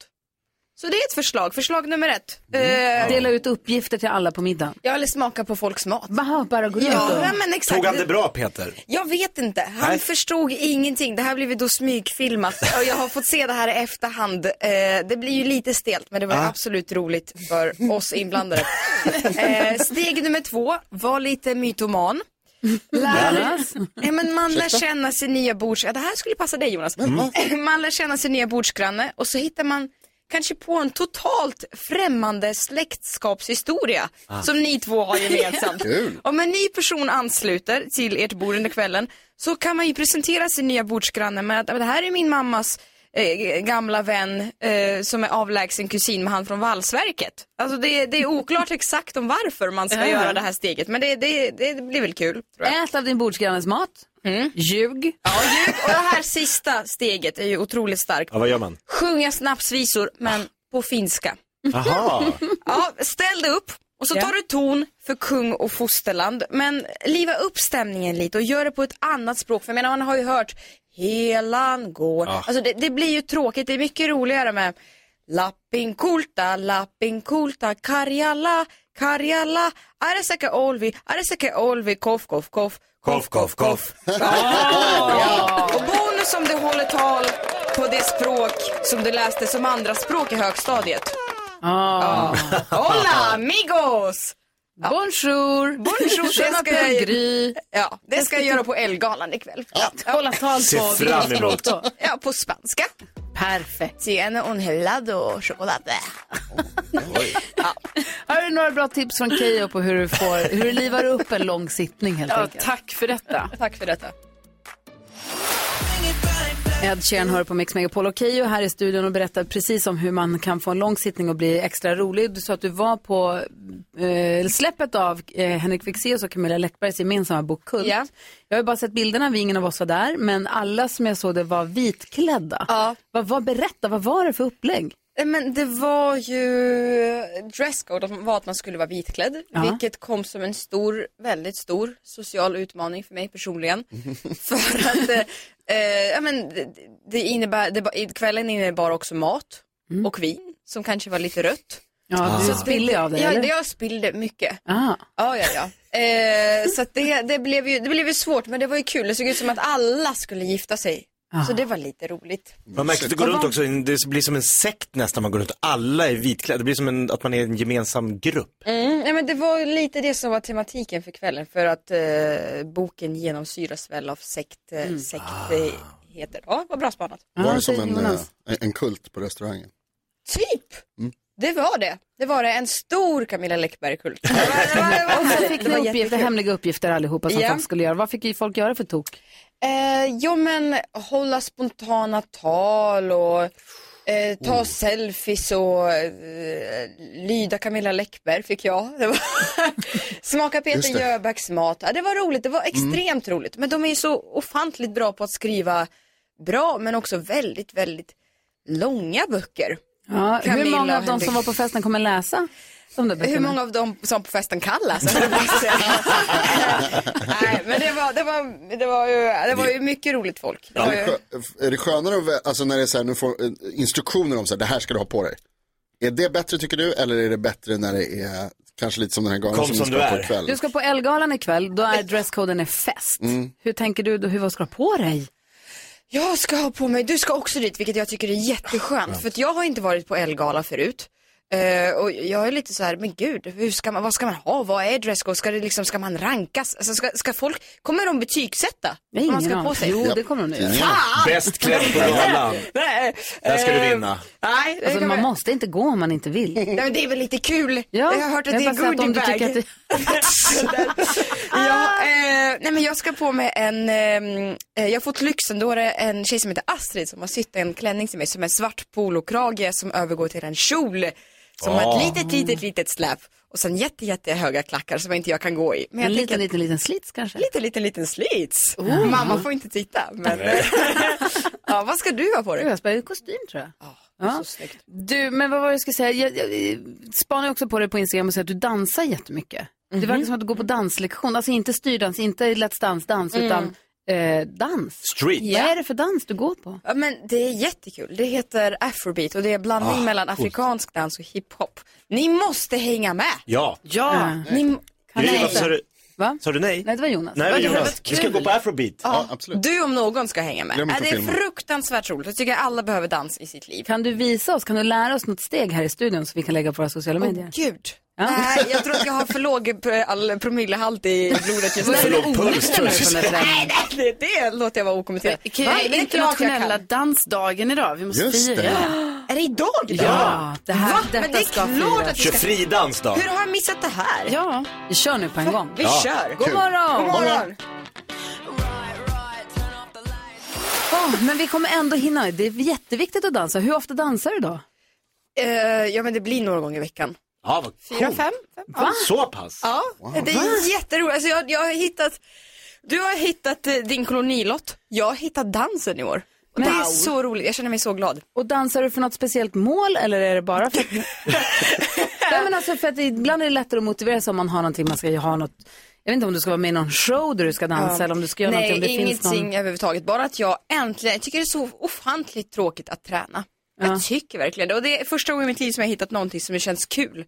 Speaker 10: Så det är ett förslag, förslag nummer ett. Eh,
Speaker 1: Dela Mm. ut uppgifter till alla på middagen.
Speaker 10: Ja, eller smaka på folks mat.
Speaker 1: Aha, bara gå runt
Speaker 10: ja,
Speaker 1: och-
Speaker 10: ja, men exakt.
Speaker 4: Tog han det bra Peter?
Speaker 10: Jag vet inte. Han
Speaker 4: Nej.
Speaker 10: förstod ingenting. Det här blev ju då smygfilmat och jag har fått se det här i efterhand. Eh, det blir ju lite stelt men det var
Speaker 8: Ah.
Speaker 10: absolut roligt för oss inblandade. eh, steg nummer två, var lite mytoman. Lär, Nej, men man lär
Speaker 8: Ursäkta? Mm.
Speaker 10: känna sin nya bords... Ja, det här skulle passa dig Jonas. Eh, Man lär känna sin nya bordsgranne och så hittar man kanske på en totalt främmande släktskapshistoria
Speaker 8: Ah.
Speaker 10: som ni två har gemensamt.
Speaker 8: Kul.
Speaker 10: Om en ny person ansluter till ert bord under kvällen så kan man ju presentera sin nya bordsgranne med att "Ja, men det här är min mammas eh, gamla vän eh, som är avlägsen kusin med han från valsverket. Alltså det, det är oklart exakt om varför man ska
Speaker 1: Ja.
Speaker 10: göra det här steget men det, det, det blir väl kul. Tror jag. Mm.
Speaker 1: Ät av din bordsgrannes mat. Ljug.
Speaker 10: Ja, ljug. Och det här sista steget är ju otroligt starkt.
Speaker 4: Ja, vad gör man?
Speaker 10: Sjunga snapsvisor men på finska.
Speaker 4: Aha.
Speaker 10: Ja, ställ dig upp och så tar du ton för kung och fosterland. Men liva upp stämningen lite och gör det på ett annat språk. För jag menar, man har ju hört Helan går.
Speaker 8: Ah.
Speaker 10: Alltså det, det blir ju tråkigt. Det är mycket roligare med Lappinkulta, Lappinkulta, Karjala, Karjala, Areseke Olvi, Areseke Olvi, koff, koff, koff.
Speaker 4: Koff, koff, koff.
Speaker 10: Ja. Och bonus om du håller tal på det språk som du läste som andra språk i högstadiet.
Speaker 1: Ah.
Speaker 10: Hola amigos! Ja.
Speaker 1: Bonjour!
Speaker 10: Bonjour!
Speaker 1: Tjena,
Speaker 10: jag-
Speaker 1: Pelle Gry.
Speaker 10: Ja, det ska jag göra på Elgalan ikväll. Ja.
Speaker 1: Hålla tal
Speaker 4: Ser
Speaker 1: på.
Speaker 4: fram emot.
Speaker 10: ja, på spanska.
Speaker 1: Perfekt.
Speaker 10: Tiene un helado chocolate.
Speaker 1: Här är några bra tips från Keyyo på hur du, får, hur du livar upp en lång sittning helt
Speaker 5: Ja,
Speaker 1: enkelt.
Speaker 5: tack för detta.
Speaker 10: Tack för detta.
Speaker 1: Ed Sheeran hör på Mix Megapol och Keyyo här i studion och berättar precis om hur man kan få en lång sittning och bli extra rolig. Du sa att du var på eh, släppet av eh, Henrik Fexeus och Camilla Läckbergs gemensamma bok Kult.
Speaker 10: Ja.
Speaker 1: Jag har ju bara sett bilderna, vi ingen av oss var där, men alla som jag såg det var vitklädda.
Speaker 10: Ja.
Speaker 1: Vad, vad, berätta, vad var det för upplägg?
Speaker 10: Eh, Men det var ju dresscode, att man- var att man skulle vara vitklädd.
Speaker 1: Ja.
Speaker 10: Vilket kom som en stor, väldigt stor social utmaning för mig personligen. för att eh, eh, ja, men det, det innebär, det, var- i- kvällen innebar också mat och vin som kanske var lite rött.
Speaker 1: Mm. Ja, du spillde av dig,
Speaker 10: ja,
Speaker 1: eller?
Speaker 10: det- jag spillde mycket.
Speaker 1: Ah.
Speaker 10: Ja, ja, ja. Eh, så att det, det, blev ju, det blev ju svårt men det var ju kul. Det såg ut som att alla skulle gifta sig. Så det var lite roligt.
Speaker 4: Man märker att det går runt också, det blir som en sekt nästan, man går runt alla är vitklädda. Det blir som en, att man är en gemensam grupp.
Speaker 10: Mm, nej, men det var ju lite det som var tematiken för kvällen för att eh, boken genomsyras väl av sekt, eh,
Speaker 1: Mm.
Speaker 10: sekt eh, heter. Ja, vad bra spanat.
Speaker 2: Ah. Var
Speaker 1: Ja,
Speaker 2: det som
Speaker 1: det är
Speaker 2: en, eh, Mm.
Speaker 1: Jonas.
Speaker 2: en- en kult på restaurangen?
Speaker 10: Typ! Det var det. Det var det. En stor Camilla Läckberg-kult.
Speaker 1: Och så fick ni uppgifter, hemliga uppgifter allihopa som
Speaker 10: Ja.
Speaker 1: folk skulle göra. Vad fick ju folk göra för tok?
Speaker 10: Eh, jo men hålla spontana tal och eh, ta
Speaker 2: Mm.
Speaker 10: selfies och eh, lyda Camilla Läckberg fick jag. Det var Smaka
Speaker 2: Just
Speaker 10: Peter
Speaker 2: det. Mm.
Speaker 10: Jöbacks mat. Ja, det var roligt, det var extremt roligt. Men de är ju så ofantligt bra på att skriva bra men också väldigt, väldigt långa böcker.
Speaker 1: Ja, hur
Speaker 10: Camilla
Speaker 1: många av
Speaker 10: och
Speaker 1: de
Speaker 10: Henrik.
Speaker 1: som var på festen kommer läsa de där
Speaker 10: Hur
Speaker 1: böckerna?
Speaker 10: många av dem som på festen kallas? Nej, men det var, det var, det var, ju, det var ju mycket roligt folk. Det var
Speaker 2: Är,
Speaker 10: ju...
Speaker 2: det skö- är det skönare att vä- alltså när det är så här, nu får eh, instruktioner om så här, det här ska du ha på dig. Är det bättre tycker du, eller är det bättre när det är kanske lite som den här galan
Speaker 4: Kom
Speaker 2: som,
Speaker 4: som
Speaker 2: ni ska
Speaker 4: du
Speaker 2: på
Speaker 4: är.
Speaker 2: ikväll? Mm.
Speaker 1: Du ska på Elgalan ikväll, då är dresskoden är fest. Hur tänker du då, hur, vad ska du ha på dig?
Speaker 10: Jag ska ha på mig, du ska också dit vilket jag tycker är jätteskönt för att jag har inte varit på Elgala förut. Eh, och jag är lite så här, men gud, hur ska man, vad ska man ha, vad är dresscode, ska, det liksom, ska man rankas, alltså, ska, ska folk, kommer de betygsätta
Speaker 1: Jag har
Speaker 10: vad man
Speaker 1: ingen
Speaker 10: ska ha på
Speaker 1: aning.
Speaker 10: sig?
Speaker 1: Jo, det kommer hon nu göra.
Speaker 2: Tidningarna.
Speaker 4: Bäst klädd på galan.
Speaker 10: Nej,
Speaker 4: Där ska du
Speaker 10: eh,
Speaker 4: vinna.
Speaker 10: Nej, det
Speaker 1: Alltså,
Speaker 10: kommer-
Speaker 1: man måste inte gå om man inte vill.
Speaker 10: Nej, men det är väl lite kul.
Speaker 1: Ja,
Speaker 10: jag har hört att
Speaker 1: jag
Speaker 10: det är
Speaker 1: bara säger att om du
Speaker 10: goodiebag.
Speaker 1: tycker att Ah.
Speaker 10: ja, eh, nej men jag ska på mig en, ehm, eh, jag har fått lyxen, då är det en tjej som heter Astrid som har sytt en klänning till mig som är svart polokrage som övergår till en kjol som har
Speaker 1: Ah.
Speaker 10: ett litet, litet, litet släp och sen jätte, jätte höga klackar som inte jag kan gå i. Men jag
Speaker 1: En
Speaker 10: tänker
Speaker 1: liten,
Speaker 10: att-
Speaker 1: liten, liten slits kanske? Oh.
Speaker 10: liten, liten, liten slits. Mamma får inte titta. Men, ja, vad ska du ha på dig?
Speaker 1: Jag spelar ju kostym tror jag.
Speaker 10: Ja. Så snyggt.
Speaker 1: Du, men vad var det jag skulle säga? Jag, jag, jag spanar ju också på dig på Instagram och säger att du dansar jättemycket. Det
Speaker 10: Mhm.
Speaker 1: verkar som att du går på danslektion, alltså inte styrdans, inte Let's Dance-dans,
Speaker 10: Mm.
Speaker 1: utan eh, dans.
Speaker 4: Street.
Speaker 1: Vad är det för dans du går på?
Speaker 10: Ja men det är jättekul. Det heter afrobeat och det är
Speaker 1: Ah,
Speaker 10: blandning mellan afrikansk dans och hiphop. Ni måste hänga med!
Speaker 4: Ja.
Speaker 1: Ja,
Speaker 10: Ni...
Speaker 4: Du,
Speaker 1: Nej.
Speaker 4: varför sa du,
Speaker 1: Va?
Speaker 4: sa du nej?
Speaker 1: Nej, det var Jonas.
Speaker 4: Nej,
Speaker 1: Vad
Speaker 4: men
Speaker 1: kul.
Speaker 4: Jonas, vi ska gå på afrobeat.
Speaker 2: Ja, absolut.
Speaker 10: Du om någon ska hänga med.
Speaker 2: Glöm
Speaker 10: Ja,
Speaker 2: inte
Speaker 10: det är
Speaker 2: filmen.
Speaker 10: fruktansvärt roligt. Jag tycker alla behöver dans i sitt liv.
Speaker 1: Kan du visa oss, kan du lära oss något steg här i studion så vi kan lägga på våra sociala medier?
Speaker 10: Gud! Nej, jag tror att jag har för låg pr- all promillehalt i blodet just nu.
Speaker 4: För låg puls tror jag.
Speaker 10: Nej, nej, det, det låter jag vara okommenterat.
Speaker 5: Okej,
Speaker 10: Va?
Speaker 5: det är Eh, internationella
Speaker 10: klart
Speaker 5: dansdagen idag. Vi måste
Speaker 2: Just
Speaker 5: fira.
Speaker 2: det.
Speaker 10: jag kan. Är det idag det?
Speaker 1: Ja, det här,
Speaker 10: Va?
Speaker 1: detta
Speaker 10: Men det är
Speaker 1: ska
Speaker 10: klart
Speaker 1: firas.
Speaker 10: att vi
Speaker 4: Kör
Speaker 10: ska...
Speaker 4: fridans då.
Speaker 10: Hur har jag missat det här?
Speaker 5: Ja.
Speaker 1: Vi kör nu på en gång.
Speaker 10: Vi kör!
Speaker 1: God morgon!
Speaker 10: God morgon!
Speaker 1: Åh, men vi kommer ändå hinna. Det är jätteviktigt att dansa. Hur ofta dansar du då?
Speaker 10: Eh, ja men det blir några gånger i veckan.
Speaker 4: Ja, vad
Speaker 10: Fyra,
Speaker 4: coolt.
Speaker 10: fem? fem.
Speaker 4: Va? Så pass?
Speaker 10: Ja, det är jätteroligt. Alltså jag, jag har hittat, du har hittat eh, din kolonilott. Jag har hittat dansen i år. Och Det är så roligt, jag känner mig så glad.
Speaker 1: Och dansar du för något speciellt mål eller är det bara för att... Nej, men alltså för att ibland är det lättare att motivera sig om man har någonting, man ska ju ha något. Jag vet inte om du ska vara med i någon show där du ska dansa eller om du ska göra
Speaker 10: Nej,
Speaker 1: någonting. Om det finns
Speaker 10: ingenting
Speaker 1: någon...
Speaker 10: överhuvudtaget. Bara att jag äntligen, jag tycker det är så ofantligt tråkigt att träna. Jag tycker verkligen det. Och det är första gången i mitt liv som jag har hittat någonting som känns kul.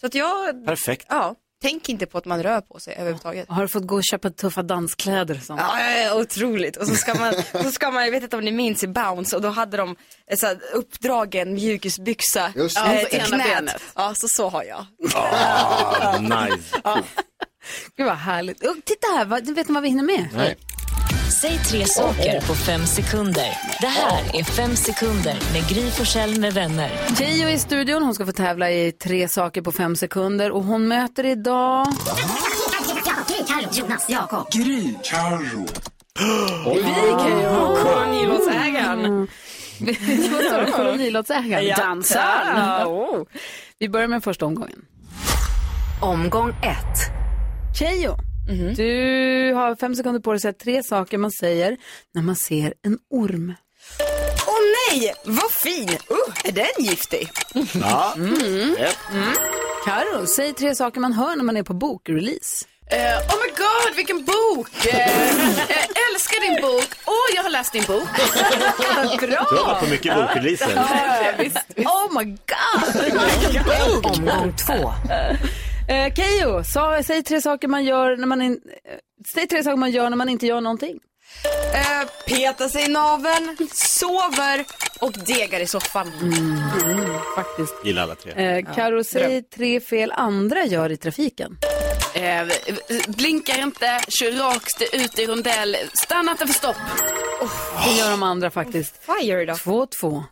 Speaker 10: Så att jag...
Speaker 4: Perfekt.
Speaker 10: Ja, tänk inte på att man rör på sig överhuvudtaget.
Speaker 1: Har du fått gå och köpa tuffa danskläder? och sånt?
Speaker 10: Ja, ja, ja, Eh, otroligt. Och så ska man, så ska man, jag vet inte om ni minns i Bounce, och då hade de eh, så här, uppdragen mjukisbyxa
Speaker 1: Just det.
Speaker 10: eh,
Speaker 1: Ja, på
Speaker 10: till
Speaker 1: ena
Speaker 10: knät.
Speaker 1: benet.
Speaker 10: Ja, så så har jag.
Speaker 4: Ah, nice.
Speaker 1: Gud vad härligt. Och titta här, vad, vet ni vad vi hinner med?
Speaker 4: Nej.
Speaker 11: Säg tre saker på fem sekunder. Det här är Fem sekunder med Gry Forssell med vänner.
Speaker 1: Gio är i studion, hon ska få tävla i tre saker på fem sekunder och hon möter idag...
Speaker 12: Gry, Carro, Jonas, Jakob. Gry, Carro.
Speaker 1: Vi kan ju ha
Speaker 10: kolonilottsägaren.
Speaker 1: Mm. Vad sa du? Kolonilottsägaren?
Speaker 10: Ja.
Speaker 1: Dansaren. Oh.
Speaker 10: Ja,
Speaker 1: Vi börjar med första omgången.
Speaker 11: Omgång ett.
Speaker 1: Keyyo,
Speaker 10: Mhm.
Speaker 1: du har fem sekunder på dig att säga tre saker man säger när man ser en orm.
Speaker 10: Åh nej, vad fin! Uh, är den giftig?
Speaker 4: Ja.
Speaker 1: Mm.
Speaker 4: Ett.
Speaker 1: Karo, säg tre saker man hör när man är på bokrelease.
Speaker 5: Eh, oh my god, vilken bok! Eh, jag älskar din bok. Åh, jag har läst din bok.
Speaker 1: Bra!
Speaker 4: Du har varit på mycket bokreleaser.
Speaker 1: Ja, visst, visst. Oh my god!
Speaker 11: Omgång två.
Speaker 1: Eh, Keyyo, sa- säg tre saker man gör när man in, eh, säg tre saker man gör när man inte gör någonting.
Speaker 10: Eh, petar sig i naveln, sover och degar i soffan.
Speaker 1: Mm. faktiskt.
Speaker 4: Gillar alla tre.
Speaker 1: Eh, Karo, säg tre fel andra gör i trafiken.
Speaker 5: Eh, blinkar inte, kör rakt ut i rondell, stanna inte för stopp.
Speaker 1: Det gör de andra faktiskt.
Speaker 10: Fire då.
Speaker 1: Två, två.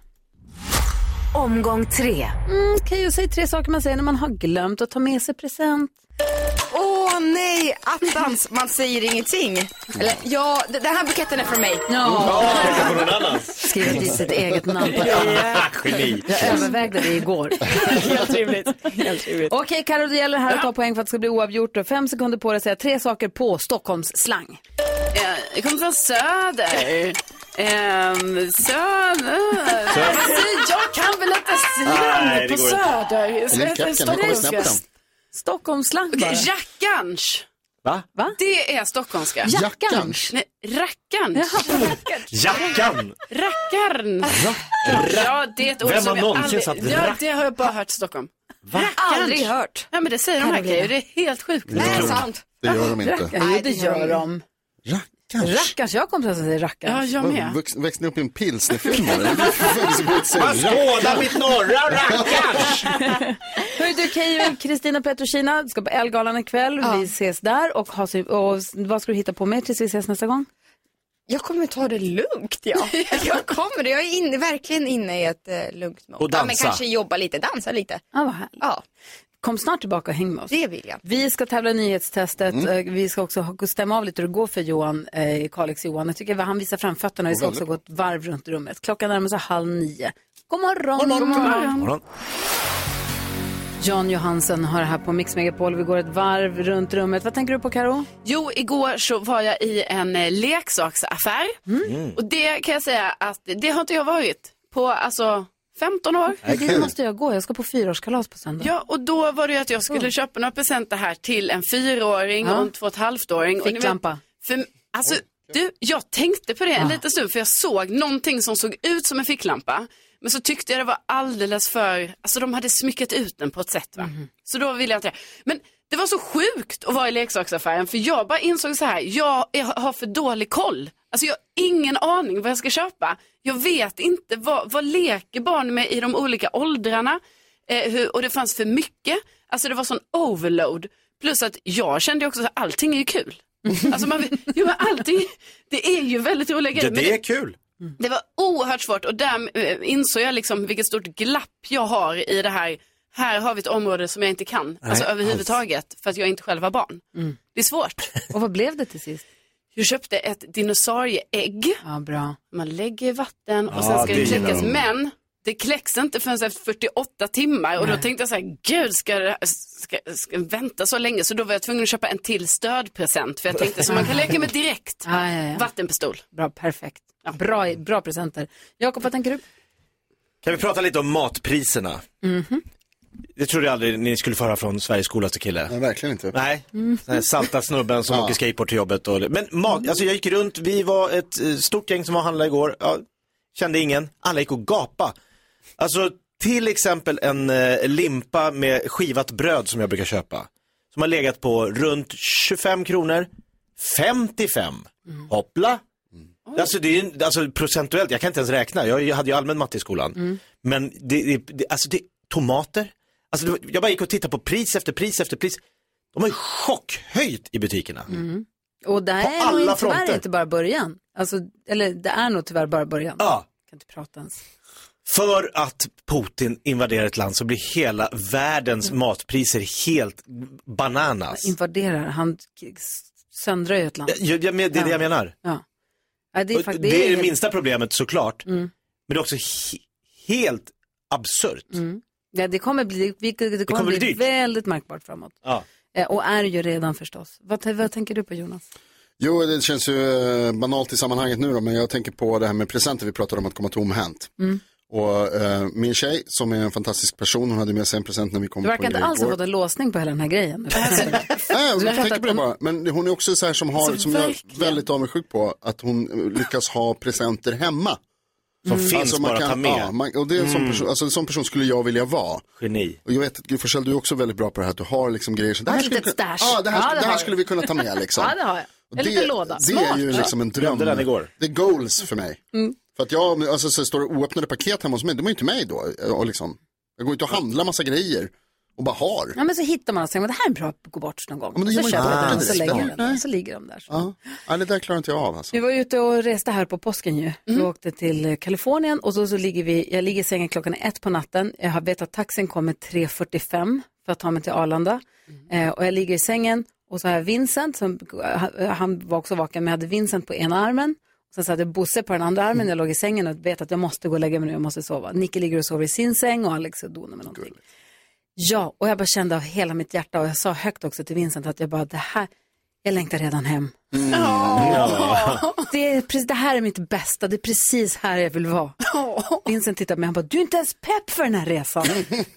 Speaker 11: Omgång tre.
Speaker 1: Mm, Keyyo, säg tre saker man säger när man har glömt att ta med sig present.
Speaker 10: Åh nej, attans, man säger ingenting. Eller, ja, d- den här buketten är från mig.
Speaker 4: På någon annans.
Speaker 1: Skriva dit sitt eget namn på
Speaker 4: Geni.
Speaker 1: Jag övervägde det igår.
Speaker 10: Helt rimligt. Helt rimligt.
Speaker 1: Okej, Karo, det gäller här att ta poäng för att det ska bli oavgjort. Du har Fem sekunder på dig att säga tre saker på Stockholms slang.
Speaker 5: Eh, jag kommer från söder. Ehm, söder. Vad säger jag? Jag kan väl inte
Speaker 1: Nej, det
Speaker 5: slang på
Speaker 1: går inte.
Speaker 5: söder.
Speaker 1: Eller kacken, den kommer
Speaker 5: stockholmska.
Speaker 1: snabbt Stockholmsslang
Speaker 5: Okej,
Speaker 1: bara.
Speaker 5: Jackarns.
Speaker 4: Va?
Speaker 5: Det är stockholmska.
Speaker 4: Jackarns?
Speaker 5: Nej, rackarns.
Speaker 4: Jackan!
Speaker 5: Rackarn. Ja, det är ett ord
Speaker 4: Vem
Speaker 5: som
Speaker 4: har
Speaker 5: jag
Speaker 4: någonsin
Speaker 5: aldrig...
Speaker 4: sagt
Speaker 5: ja,
Speaker 4: rack-
Speaker 5: det har jag bara hört i Stockholm. Rackarns.
Speaker 10: Aldrig hört.
Speaker 5: Ja, men det säger de här grejerna. Det är helt sjukt.
Speaker 2: Det är inte klokt. Det gör de inte.
Speaker 1: Rackar, jo, det gör de. Rackarns? Rackarns, jag kommer att säga rackarns.
Speaker 5: Ja, jag med.
Speaker 2: Vux- Växte ni upp i en pilsnerfilm eller? Varför så gott säger
Speaker 4: Man skådar mitt norra
Speaker 1: Hur är du, Keyyo och Kristina Petrushina ska på Elgalan ikväll. Vi ses där. Och, ha, syn- och s- vad ska du hitta på mer tills vi ses nästa gång?
Speaker 10: Jag kommer ta det lugnt, ja. Jag kommer det. Jag är inne, verkligen inne i ett eh, lugnt mode.
Speaker 1: Och
Speaker 10: Ja, men
Speaker 1: dansa.
Speaker 10: kanske jobba lite, dansa lite.
Speaker 1: Ja, vad härligt.
Speaker 10: Ja.
Speaker 1: Kom snart tillbaka och häng med oss.
Speaker 10: Det vill jag.
Speaker 1: Vi ska tävla i nyhetstestet.
Speaker 10: Mm.
Speaker 1: Eh, Vi ska också ha- stämma av lite hur det går för Johan, eh, Kalix Johan. Jag tycker att han visar framfötterna. Vi ska
Speaker 10: Och
Speaker 1: också gå
Speaker 10: väldigt
Speaker 1: ett varv runt rummet. Klockan närmar sig halv nio. God morgon!
Speaker 10: God morgon.
Speaker 1: Jan Johansen har det här på Mix Megapol. Vi går ett varv runt rummet. Vad tänker du på Karo?
Speaker 5: Jo, igår så var jag i en eh, leksaksaffär.
Speaker 1: Mm.
Speaker 10: Mm.
Speaker 5: Och det kan jag säga att det har inte jag varit på alltså 15 år.
Speaker 1: Nej, Det måste jag gå. Jag ska på fyraårskalas på söndag.
Speaker 5: Ja, och då var det ju att jag skulle köpa några presenter här till en fyraåring
Speaker 1: Ja.
Speaker 5: och en två och ett halvt-åring. Och ni vet,
Speaker 1: Ficklampa.
Speaker 5: För, alltså, du, jag tänkte på det en liten stund för jag såg någonting som såg ut som en ficklampa. Men så tyckte jag det var alldeles för, alltså de hade smyckat ut den på ett sätt va. Så då ville jag inte det. Men det var så sjukt att vara i leksaksaffären för jag bara insåg så här, jag är, har för dålig koll. Alltså jag har ingen aning vad jag ska köpa. Jag vet inte vad, vad leker barn med i de olika åldrarna. Eh, hur, och det fanns för mycket. Alltså det var sån overload. Plus att jag kände också att allting är ju kul. Alltså man, jo, men allting, det är ju väldigt roliga grejer.
Speaker 4: Ja,
Speaker 5: men
Speaker 4: det är kul.
Speaker 5: det var oerhört svårt och där eh, insåg jag liksom vilket stort glapp jag har i det här. Här har vi ett område som jag inte kan, alltså
Speaker 1: alls.
Speaker 5: överhuvudtaget, för att jag inte själv var barn.
Speaker 1: Mm.
Speaker 5: Det är svårt.
Speaker 1: Och vad blev det till sist?
Speaker 5: Jag köpte ett dinosaurieägg.
Speaker 1: Ja, bra.
Speaker 5: Man lägger i vatten och
Speaker 1: Ja,
Speaker 5: sen ska
Speaker 1: det
Speaker 5: det
Speaker 1: gillar
Speaker 5: kläckas.
Speaker 1: de.
Speaker 5: Men det kläcks inte förrän efter 48 timmar och då
Speaker 1: Nej.
Speaker 5: tänkte jag så här, gud ska det ska, ska jag vänta så länge? Så då var jag tvungen att köpa en till stödpresent för jag tänkte så man kan leka med direkt.
Speaker 1: Ja, ja, ja.
Speaker 5: Vattenpistol.
Speaker 1: Bra, perfekt. Bra, bra presenter. Jakob, vad tänker du?
Speaker 4: Kan vi prata lite om matpriserna?
Speaker 5: Mm-hmm.
Speaker 1: Mhm.
Speaker 4: Det trodde jag aldrig ni skulle föra från Sveriges coolaste kille.
Speaker 2: Nej, verkligen inte.
Speaker 4: Nej, Den här salta snubben som åker skateboard till jobbet. Och... Men mat, alltså jag gick runt, vi var ett eh, stort gäng som var och handlade igår. Jag kände ingen, alla gick och gapade. Alltså Till exempel en eh, limpa med skivat bröd som jag brukar köpa. Som har legat på runt 25 kronor, 55. Hoppla! Alltså, det är, ju- alltså procentuellt, jag kan inte ens räkna, jag, jag hade ju allmän matte i skolan. Men det, det, det, alltså det, tomater, alltså det, jag bara gick och tittade på pris efter pris efter pris. De har ju chockhöjt i butikerna.
Speaker 1: Mm. Och det
Speaker 4: På
Speaker 1: är nog
Speaker 4: alla
Speaker 1: inte- tyvärr
Speaker 4: fronter.
Speaker 1: inte bara början. Alltså, eller det är nog tyvärr bara början.
Speaker 4: Ja.
Speaker 1: Kan inte prata ens.
Speaker 4: För att Putin invaderar ett land så blir hela världens
Speaker 1: Mm.
Speaker 4: matpriser helt bananas.
Speaker 1: Invaderar, han k- s- söndrar ju ett land.
Speaker 4: Jag, jag, men- det är det jag menar.
Speaker 1: Ja. Ja, det, är
Speaker 4: Och
Speaker 1: fakt-
Speaker 4: det, är det
Speaker 1: helt-
Speaker 4: minsta problemet såklart.
Speaker 1: Mm.
Speaker 4: Men det är också he- helt absurt.
Speaker 1: Mm. Ja, det kommer bli, det, det kommer
Speaker 4: kommer
Speaker 1: bli,
Speaker 4: bli dyrt.
Speaker 1: väldigt märkbart framåt.
Speaker 4: Ja.
Speaker 1: Eh, och är ju redan förstås. Vad, t- vad tänker du på Jonas?
Speaker 2: Jo, det känns ju eh, banalt i sammanhanget nu då, men jag tänker på det här med presenter vi pratade om att komma tomhänt.
Speaker 1: Mm.
Speaker 2: Och eh, min tjej som är en fantastisk person, hon hade med sig en present när vi kom
Speaker 1: Du
Speaker 2: på
Speaker 1: verkar inte
Speaker 2: grej
Speaker 1: alls ha
Speaker 2: igår.
Speaker 1: fått en låsning på hela den här grejen.
Speaker 4: Äh.
Speaker 2: Nej,
Speaker 1: Du
Speaker 2: jag
Speaker 1: pratar
Speaker 2: tänker på det bara. Men hon är också så här som har,
Speaker 1: Alltså,
Speaker 2: som jag är
Speaker 1: verkligen.
Speaker 2: väldigt avundsjuk på, att hon eh, lyckas ha presenter hemma.
Speaker 4: Som finns bara att ta med.
Speaker 2: Ja, Mm. Alltså, man, och det är en sån
Speaker 4: Mm.
Speaker 2: person, alltså en sån person skulle jag vilja vara.
Speaker 4: Geni.
Speaker 2: Och jag vet att Gud Forssell, du är också väldigt bra på det här, att du har liksom grejer som, det här,
Speaker 1: Ett
Speaker 2: skulle,
Speaker 1: litet
Speaker 2: kunna-
Speaker 1: stash.
Speaker 2: ja, det här,
Speaker 1: Ja,
Speaker 2: skulle-
Speaker 1: det
Speaker 2: det här
Speaker 1: har
Speaker 2: skulle
Speaker 1: du.
Speaker 2: vi kunna ta med liksom.
Speaker 1: Ja, det har jag.
Speaker 2: Och
Speaker 1: En liten låda.
Speaker 2: Det är ju liksom en dröm.
Speaker 4: Glömde den igår.
Speaker 2: Det är goals för mig.
Speaker 1: Mm.
Speaker 2: För att jag, alltså så står det oöppnade paket hemma hos mig, det var ju inte mig då. Och liksom, jag går inte och handlar massa grejer och bara har.
Speaker 1: Ja, men så hittar man och säger, men det här är bra att gå bort någon gång.
Speaker 2: men det
Speaker 1: så
Speaker 2: gör man
Speaker 1: köper
Speaker 2: ju
Speaker 1: man den och
Speaker 2: inte.
Speaker 1: så lägger
Speaker 2: Nej.
Speaker 1: man den där, och så ligger de där. Så.
Speaker 2: Ja. ja, det där klarar inte jag av alltså.
Speaker 1: Vi var ute och reste här på påsken ju. Vi åkte till eh, Kalifornien och så, så ligger vi, jag ligger i sängen klockan ett på natten. Jag har vet att taxin kommer 3.45 för att ta mig till Arlanda. Eh, och jag ligger i sängen och så har jag Vincent, som, han- han var också vaken, men jag hade Vincent på ena armen. Sen så hade jag Bosse på den andra armen, jag låg i sängen och vet att jag måste gå och lägga mig nu, jag måste sova. Nicke ligger och sover i sin säng och Alex och donar med någonting. Ja, och jag bara kände av hela mitt hjärta och jag sa högt också till Vincent att jag bara, det här, jag längtar redan hem.
Speaker 12: Ja.
Speaker 1: Det, är, precis- det här är mitt bästa, det är precis här jag vill vara. Vincent tittar på mig, han bara, du är inte ens pepp för den här resan.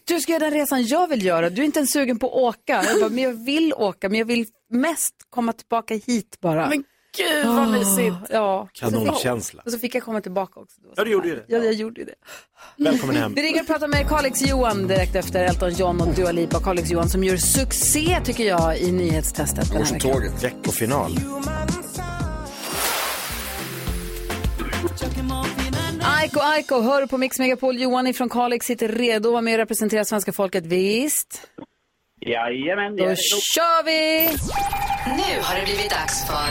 Speaker 1: Du ska göra den resan jag vill göra, du är inte ens sugen på att åka. Jag bara, men jag vill åka, men jag vill mest komma tillbaka hit bara.
Speaker 5: Men gud, vad
Speaker 1: Åh,
Speaker 5: mysigt.
Speaker 1: Ja.
Speaker 4: Kanonkänsla.
Speaker 1: Och så fick jag komma tillbaka också.
Speaker 4: Ja, du gjorde ju det.
Speaker 1: Ja, jag gjorde ju det.
Speaker 4: Välkommen hem.
Speaker 1: Vi ringer och pratar med Kalix Johan direkt efter Elton John och Dua Lipa. Kalix Johan som gör succé tycker jag i nyhetstestet den här veckan.
Speaker 4: Veckofinal.
Speaker 1: Aiko Aiko hör på Mix Megapol. Johan ifrån Kalix sitter redo att vara med och representera svenska folket. Visst?
Speaker 13: Jajamän,
Speaker 1: Då kör vi!
Speaker 12: Nu har det blivit dags för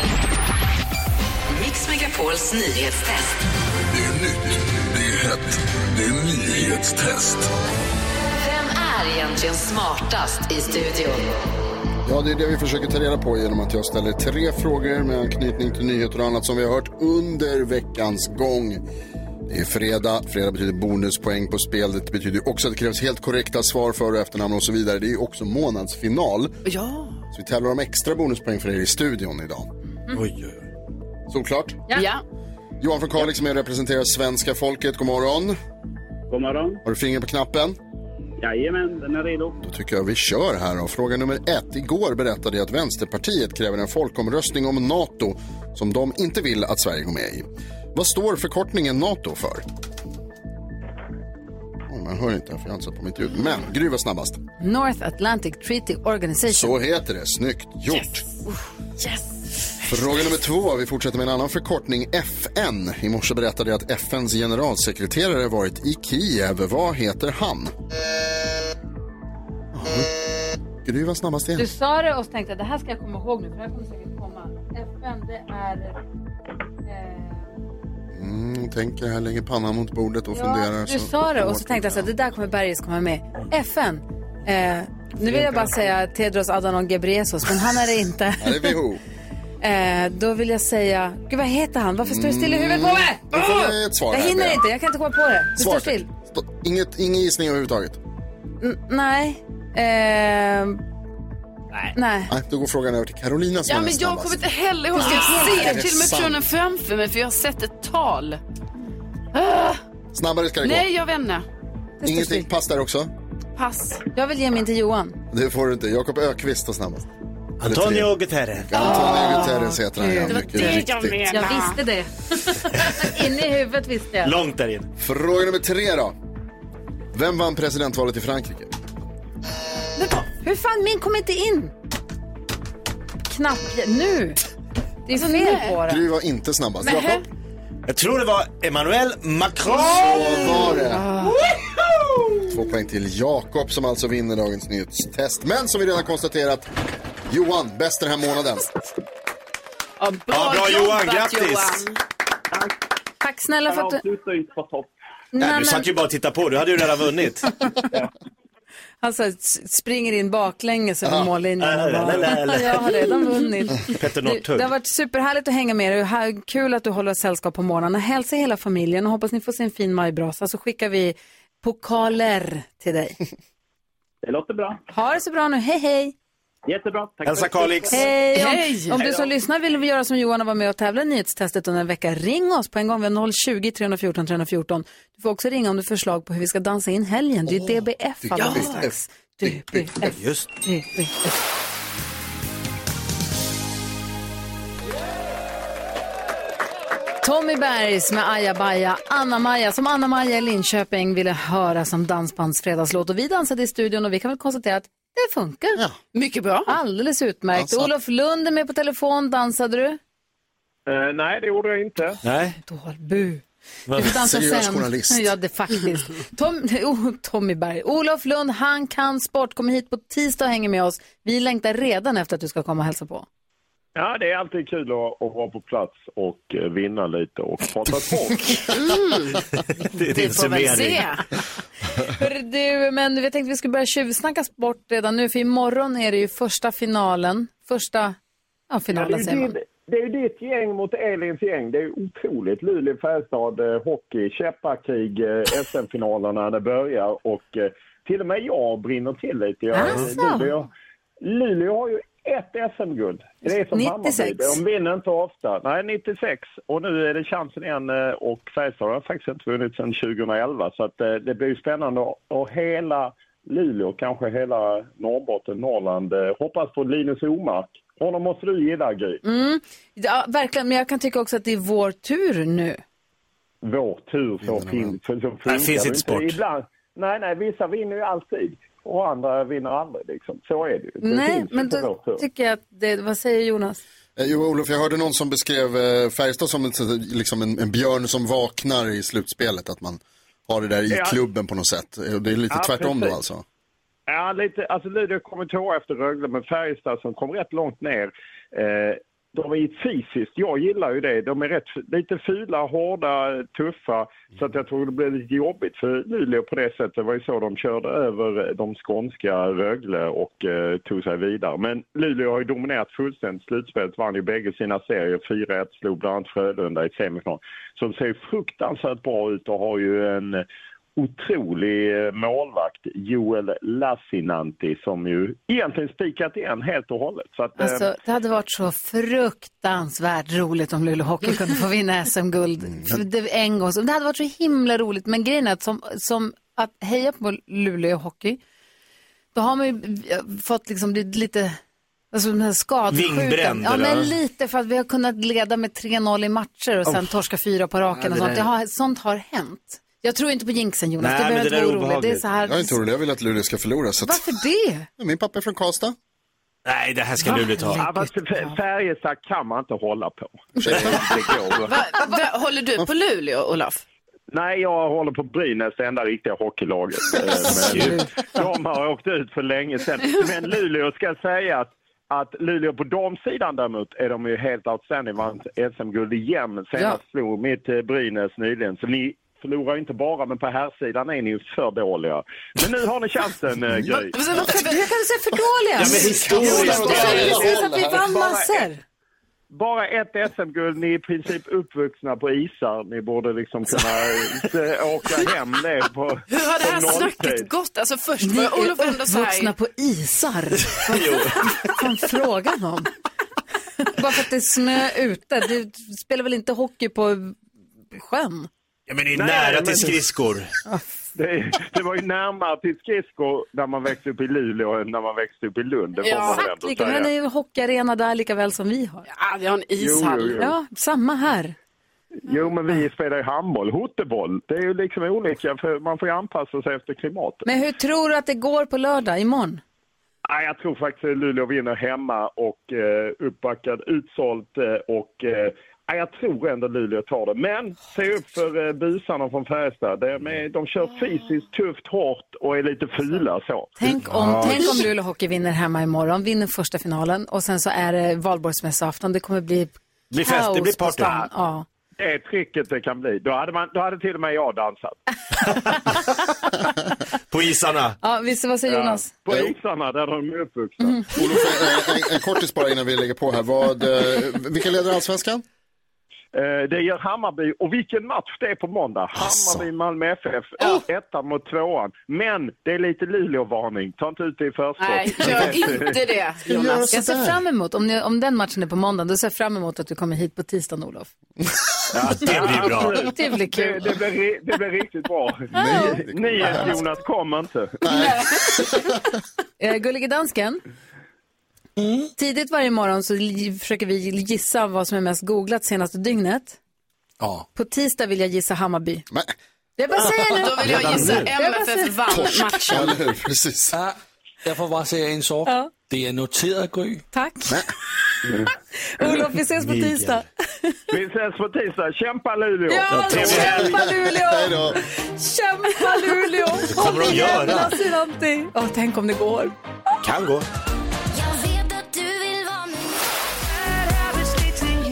Speaker 12: Mix Megapols nyhetstest.
Speaker 14: Det är nytt, det är hett, det är nyhetstest.
Speaker 12: Vem är egentligen smartast i studion?
Speaker 2: Ja, det är det vi försöker ta reda på genom att jag ställer tre frågor med anknytning till nyheter och annat som vi har hört under veckans gång. Det är fredag, fredag betyder bonuspoäng på spel. Det betyder också att det krävs helt korrekta svar för och efternamn och så vidare. Det är ju också månadsfinal.
Speaker 5: Ja.
Speaker 2: Så vi tävlar om extra bonuspoäng för er i studion idag. Oj, oj, oj. Såklart.
Speaker 5: Ja.
Speaker 2: Johan från Kalix med och representerar svenska folket. God morgon.
Speaker 13: God morgon.
Speaker 2: Har du fingret på knappen?
Speaker 13: Jajamän, den är redo.
Speaker 2: Då tycker jag vi kör här då. Fråga nummer ett. Igår berättade jag att Vänsterpartiet kräver en folkomröstning om NATO som de inte vill att Sverige går med i. Vad står förkortningen NATO för? Oj, man hör inte, för jag har inte satt på mitt ljud. Men Gry var snabbast.
Speaker 1: North Atlantic Treaty Organization.
Speaker 2: Så heter det. Snyggt gjort.
Speaker 1: Yes!
Speaker 2: Fråga nummer två. Vi fortsätter med en annan förkortning, FN. I morse berättade jag att FNs generalsekreterare varit i Kiev. Vad heter han? Jaha. Gry var snabbast igen.
Speaker 1: Du sa det och så tänkte jag det här ska jag komma ihåg nu för det här kommer säkert komma. FN det är... eh,
Speaker 2: Mm, tänker här, lägger pannan mot bordet och funderar.
Speaker 1: Ja, du sa det och så tänkte jag så här, det där kommer Bergis komma med. FN. Eh, nu vill jag bara säga Tedros Adhanom Ghebreyesus men han är det inte.
Speaker 2: Ja, det är WHO.
Speaker 1: Eh, då vill jag säga, gud vad heter han? Varför står du still i huvudet på mig?
Speaker 2: Mm. Då får vi ett svar
Speaker 1: Jag
Speaker 2: här,
Speaker 1: hinner
Speaker 2: Bea.
Speaker 1: inte, jag kan inte komma på det. Du står
Speaker 2: Svar.
Speaker 1: still.
Speaker 2: Stå- Inget, ingen gissning överhuvudtaget.
Speaker 1: N- Mm, nej. Eh, nej.
Speaker 2: Nej, då går frågan över till Carolina som
Speaker 5: Ja,
Speaker 2: är
Speaker 5: men jag
Speaker 2: snabbast.
Speaker 5: kommer inte heller ihåg. Jag
Speaker 2: Ah,
Speaker 5: ser
Speaker 2: är det
Speaker 5: till och med
Speaker 2: sant?
Speaker 5: personen framför mig för jag har sett ett tal. Ah,
Speaker 2: Snabbare ska det
Speaker 5: nej, jag vet inte.
Speaker 2: gå. Ingenting. Pass där också.
Speaker 5: Pass.
Speaker 1: Jag vill ge min till Johan.
Speaker 2: Det får du inte. Jakob Ökvist var snabbast.
Speaker 4: Antonio Guterres.
Speaker 2: Antonio
Speaker 1: Ah.
Speaker 2: Guterres heter han, ja.
Speaker 4: Gud.
Speaker 2: Mycket riktigt.
Speaker 1: Jag visste det. Inne i huvudet visste jag.
Speaker 4: Långt där in.
Speaker 2: Fråga nummer tre då. Vem vann presidentvalet i Frankrike?
Speaker 1: Hur fan, min kom inte in! Knapp, nu! Det är fel på
Speaker 2: Gry
Speaker 1: den.
Speaker 2: var inte snabbast.
Speaker 1: Nähä.
Speaker 2: Jakob?
Speaker 4: Jag tror det var Emmanuel Macron.
Speaker 2: Så var det. Två poäng till Jakob som alltså vinner dagens nyhetstest. Men som vi redan konstaterat, Johan, bäst den här månaden.
Speaker 5: Ja,
Speaker 2: bra Ja, bra, Johan, jobbat, grattis.
Speaker 1: Johan. Tack snälla för att du...
Speaker 13: avslutar ju inte på topp.
Speaker 1: Nej,
Speaker 4: Nej,
Speaker 1: men-
Speaker 4: du satt ju bara och tittade på, du hade ju redan vunnit.
Speaker 1: Han så här, alltså, s- springer in baklänges över mållinjen. och
Speaker 4: Äh, lä,
Speaker 1: bara,
Speaker 4: lä, lä.
Speaker 1: Jag har redan vunnit.
Speaker 4: Petter
Speaker 1: Du,
Speaker 4: Northug.
Speaker 1: Det har varit superhärligt att hänga med er. och här- Kul att du håller oss sällskap på morgonen. Hälsa hela familjen och hoppas ni får se en fin majbrasa så skickar vi pokaler till dig.
Speaker 13: Det låter bra.
Speaker 1: Ha det så bra nu. Hej, hej!
Speaker 13: Jättebra. Tack
Speaker 4: Hälsa Kalix.
Speaker 1: Hej! Om,
Speaker 13: Hej!
Speaker 1: om du
Speaker 13: Hej
Speaker 1: som
Speaker 13: då.
Speaker 1: lyssnar vill göra som Johan och vara med och tävla i nyhetstestet under en vecka, ring oss på en gång. Vi har 020 314 314. Du får också ringa om du har förslag på hur vi ska dansa in helgen. Det är ju DBF alldeles strax. Typ, DBF.
Speaker 4: Just
Speaker 1: typ. DBF. Tommy Bergs med Aja Baja, Anna-Maja, som Anna-Maja i Linköping ville höra som dansbandsfredagslåt. Och vi dansade i studion och vi kan väl konstatera att det funkar.
Speaker 5: Mycket bra.
Speaker 1: Alldeles utmärkt.
Speaker 5: Ja, så-
Speaker 1: Olof Lund är med på telefon. Dansade du?
Speaker 15: Eh, nej, det gjorde jag inte.
Speaker 4: Nej.
Speaker 1: Bu. Du får dansa sen. Ja, det faktiskt. Tom, oh, Tommy Berg. Olof Lund, han kan sport. Kommer hit på tisdag och hänger med oss. Vi längtar redan efter att du ska komma och hälsa på.
Speaker 15: Ja, det är alltid kul att, att vara på plats och eh, vinna lite och prata sport.
Speaker 4: det är
Speaker 1: Vi får väl se. Hörru Du, men vi tänkte vi skulle börja tjuvsnacka sport redan nu, för imorgon är det ju första finalen. Första, ja,
Speaker 15: Ja, det,
Speaker 1: finalen
Speaker 15: är
Speaker 1: säger
Speaker 15: ju
Speaker 1: man.
Speaker 15: din, det är ju ditt gäng mot Elins gäng. Det är ju otroligt. Luleå-Färjestad, eh, hockey, käppakrig, eh, SM-finalerna det börjar och eh, till och med jag brinner till lite. Jag,
Speaker 14: Asså?
Speaker 15: Luleå, Luleå har ju ett SM-guld. Det är som
Speaker 14: 96.
Speaker 15: Hammarby. De vinner inte ofta. Nej, 96. Och nu är det chansen igen eh, och Färjestad har faktiskt inte vunnit sedan 2011. Så att, eh, det blir ju spännande och- och hela Luleå, kanske hela Norrbotten, Norrland eh, hoppas på Linus Omark. Honom måste du gilla, Gry.
Speaker 1: Mm. Ja, verkligen, men jag kan tycka också att det är vår tur nu.
Speaker 15: vår tur så, fin, så, så funkar
Speaker 4: finns
Speaker 15: det
Speaker 4: inte sport.
Speaker 15: Ibland, nej, nej, vissa vinner ju alltid och andra vinner aldrig. Liksom. Så är det ju. Det
Speaker 1: Nej,
Speaker 15: finns ju
Speaker 1: men
Speaker 15: inte vår
Speaker 1: då
Speaker 15: tur.
Speaker 1: tycker jag att det, vad säger Jonas?
Speaker 2: Eh, Jo, Olof, jag hörde någon som beskrev eh, Färjestad som ett, liksom en, en björn som vaknar i slutspelet. Att man har det där i
Speaker 15: Ja.
Speaker 2: klubben på något sätt. Eh, och Det är lite
Speaker 15: Ja,
Speaker 2: tvärtom då
Speaker 15: precis.
Speaker 2: alltså.
Speaker 15: Ja, lite, alltså Luleå kommer tvåa efter Rögle, men Färjestad som kom rätt långt ner. Eh, de är fysiskt, jag gillar ju det, de är rätt, lite fula, hårda, tuffa. Så att jag tror det blev lite jobbigt för Luleå på det sättet. Det var ju så de körde över de skånska Rögle och eh, tog sig vidare. Men Luleå har ju dominerat fullständigt. Slutspelet vann ju bägge sina serier. 4-1 slog bland annat Frölunda i semifinal. Så de ser ju fruktansvärt bra ut och har ju en otrolig eh, målvakt, Joel Lassinantti, som ju egentligen spikat igen helt och hållet. Så att, eh,
Speaker 1: Alltså, det hade varit så fruktansvärt roligt om Luleå Hockey kunde få vinna
Speaker 2: Mm,
Speaker 1: SM-guld för det- en gång. Så Det hade varit så himla roligt, men grejen är att som, som att heja på Luleå Hockey, då har man ju eh, fått liksom blivit lite Alltså den här skadskjutan.
Speaker 4: Vingbränd,
Speaker 1: Ja,
Speaker 4: eller?
Speaker 1: men lite för att vi har kunnat leda med 3-0 i matcher och sen
Speaker 4: Oh.
Speaker 1: torska fyra på raken
Speaker 4: Ja, det
Speaker 1: och sånt.
Speaker 4: där-
Speaker 1: Det har, sånt har hänt. Jag tror inte på jinxen Jonas,
Speaker 2: Nej,
Speaker 1: det
Speaker 2: men
Speaker 1: behöver
Speaker 2: det där
Speaker 1: inte
Speaker 2: är
Speaker 1: vara orolig. Det är så här...
Speaker 2: Jag är inte orolig, jag vill att Luleå ska förlora. Så att...
Speaker 1: Varför det?
Speaker 2: Min pappa är från Karlstad.
Speaker 4: Nej, det här ska Luleå
Speaker 15: Ja,
Speaker 4: ta.
Speaker 15: fast Fär- Färjestad kan man inte hålla på. Det, det går.
Speaker 5: Vad- Håller du på Luleå, Olof?
Speaker 15: Nej, jag håller på Brynäs, det enda riktiga hockeylaget. Eh, Men de har åkt ut för länge sedan. Men Luleå ska säga att, att Luleå på damsidan däremot är de ju helt outstanding. Vann SM-guld igen. Senast slog mitt eh, Brynäs nyligen. Så ni förlorar ju inte bara, men på herrsidan är ni ju för dåliga. Men nu har ni chansen, eh, Gry.
Speaker 1: Hur kan du säga för dåliga?
Speaker 15: Ja, men historiskt-
Speaker 1: Du sa ju precis att vi vann
Speaker 15: Bara
Speaker 1: massor.
Speaker 15: Bara ett SM-guld, ni är i princip uppvuxna på isar. Ni borde liksom kunna eh, åka hem det på
Speaker 5: Hur har det
Speaker 15: på
Speaker 5: här
Speaker 15: nolltid.
Speaker 5: snacket gått? Alltså först
Speaker 1: Ni
Speaker 5: var Olof
Speaker 1: är
Speaker 5: ändå så
Speaker 1: uppvuxna
Speaker 5: här...
Speaker 1: på isar. Vad fan frågan om? Bara för att det är snö ute. Du spelar väl inte hockey på sjön?
Speaker 4: Ja, men det är
Speaker 15: Nej,
Speaker 4: nära
Speaker 15: men-
Speaker 4: till skridskor.
Speaker 15: Det, det var ju närmare till skridskor när man växte upp i Luleå än när man växte upp i Lund. Det får man väl
Speaker 1: exakt.
Speaker 15: ändå
Speaker 1: Lika,
Speaker 15: säga.
Speaker 1: men det är ju hockeyarena där lika väl som vi har.
Speaker 5: Ja, vi har en
Speaker 15: ishall. Jo, jo, jo.
Speaker 1: Ja, samma här.
Speaker 15: Jo, men vi spelar ju handboll, hotteboll. Det är ju liksom olika, för man får ju anpassa sig efter klimatet.
Speaker 1: Men hur tror du att det går på lördag, imorgon?
Speaker 15: Nej, jag tror faktiskt att Luleå vinner hemma och eh, uppbackad, utsålt eh, och eh, nej, jag tror ändå Luleå tar det. Men se upp för eh, busarna från Färjestad. De, är, de kör fysiskt tufft, hårt och är lite fula så.
Speaker 1: Tänk om, tänk om Luleå Hockey vinner hemma imorgon, vinner första finalen och sen så är det valborgsmässoafton. Det kommer bli
Speaker 15: blir
Speaker 1: kaos
Speaker 15: fest, det blir
Speaker 1: på
Speaker 15: party.
Speaker 1: stan. Ja.
Speaker 15: Det är tricket det kan bli. Då hade, man, då hade till och med jag dansat.
Speaker 4: På isarna.
Speaker 1: Ja, visst, vad säger Jonas? Mm-hmm.
Speaker 15: På isarna, där de är uppvuxna.
Speaker 2: En, en kortis bara innan vi lägger på här. Vad, eh, vilka leder allsvenskan?
Speaker 15: Eh, Det gör Hammarby och vilken match det är på måndag. Hammarby, Malmö FF,
Speaker 1: Oh!
Speaker 15: ja. ettan mot tvåan. Men det är lite Luleå-varning, ta inte ut det i förskott.
Speaker 5: Nej, gör inte det, Jonas.
Speaker 1: Jag ser fram emot, om, ni, om den matchen är på måndag, då ser jag fram emot att du kommer hot på tisdagen, Olof.
Speaker 15: Ja,
Speaker 1: det blir bra. Det blir kul.
Speaker 15: Det, det, blir, ri- det blir riktigt bra. Ni, Jonas, kom inte.
Speaker 1: Eh, Gullige dansken. Tidigt varje morgon så li- försöker vi gissa vad som är mest googlat senaste dygnet.
Speaker 2: Ja.
Speaker 1: På tisdag vill jag gissa Hammarby.
Speaker 2: Men...
Speaker 1: Jag bara säger nu.
Speaker 5: Då vill jag
Speaker 1: Redan
Speaker 5: gissa
Speaker 1: nu. Jag bara säger-
Speaker 5: MFF vann
Speaker 1: Torsk.
Speaker 5: matchen.
Speaker 2: Eller hur? Precis.
Speaker 6: Ja, jag får bara säga en sak.
Speaker 1: Ja.
Speaker 6: Det är noterat, Gry.
Speaker 1: Tack. Olof, vi ses på
Speaker 6: Mikael.
Speaker 1: tisdag.
Speaker 15: Vi ses på tisdag. Kämpa Luleå!
Speaker 1: Ja, kämpa Luleå!
Speaker 15: Hej då.
Speaker 1: Kämpa Luleå!
Speaker 15: Det kommer
Speaker 1: Håll
Speaker 15: de
Speaker 1: igen,
Speaker 15: göra.
Speaker 1: Lasse Ranti. Åh, tänk om det går.
Speaker 4: Kan gå.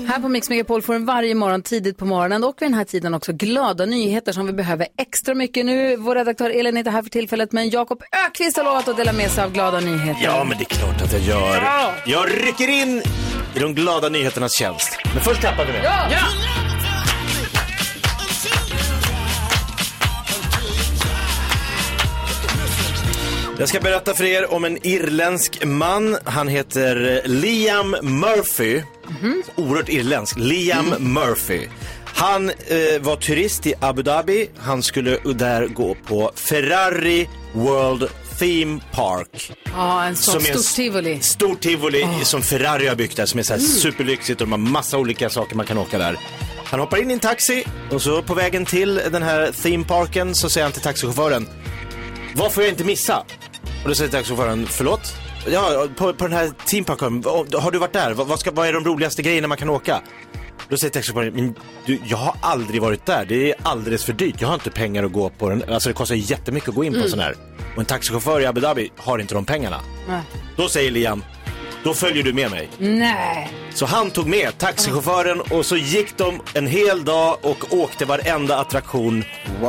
Speaker 1: Här på Mix Megapol får du varje morgon tidigt på morgonen och vid den här tiden också glada nyheter som vi behöver extra mycket nu. Vår redaktör Elin är inte här för tillfället men Jakob Ökvist har lovat att dela med sig av glada nyheter.
Speaker 4: Ja, men det är klart att jag gör. Jag rycker in i de glada nyheternas tjänst. Men först klappar vi det.
Speaker 1: Ja!
Speaker 4: Jag ska berätta för er om en irländsk man. Han heter eh, Liam Murphy. Oerhört irländsk. Liam Murphy. Han eh, var turist i Abu Dhabi. Han skulle där gå på Ferrari World Theme Park.
Speaker 1: Ja, en sån
Speaker 4: Som är en
Speaker 1: stort tivoli. Ah.
Speaker 4: Stor tivoli som Ferrari har byggt där som är så här
Speaker 1: Mm.
Speaker 4: superlyxigt och de har massa olika saker man kan åka där. Han hoppar in i en taxi och så på vägen till den här themeparken så säger han till taxichauffören Vad får jag inte missa? Och då säger taxichauffören förlåt? Ja, på, på den här themeparken, har du varit där? Vad, vad, ska, vad är de roligaste grejerna man kan åka? Då säger taxichauffören, men du, jag har aldrig varit där, det är alldeles för dyrt, jag har inte pengar att gå på den, alltså det kostar ju jättemycket att gå in på
Speaker 1: Mm.
Speaker 4: en sån här. Och en taxichaufför i Abu Dhabi har inte de pengarna. Då säger Liam, då följer du med mig.
Speaker 1: Nej.
Speaker 4: Så han tog med taxichauffören och så gick de en hel dag och åkte varenda attraktion.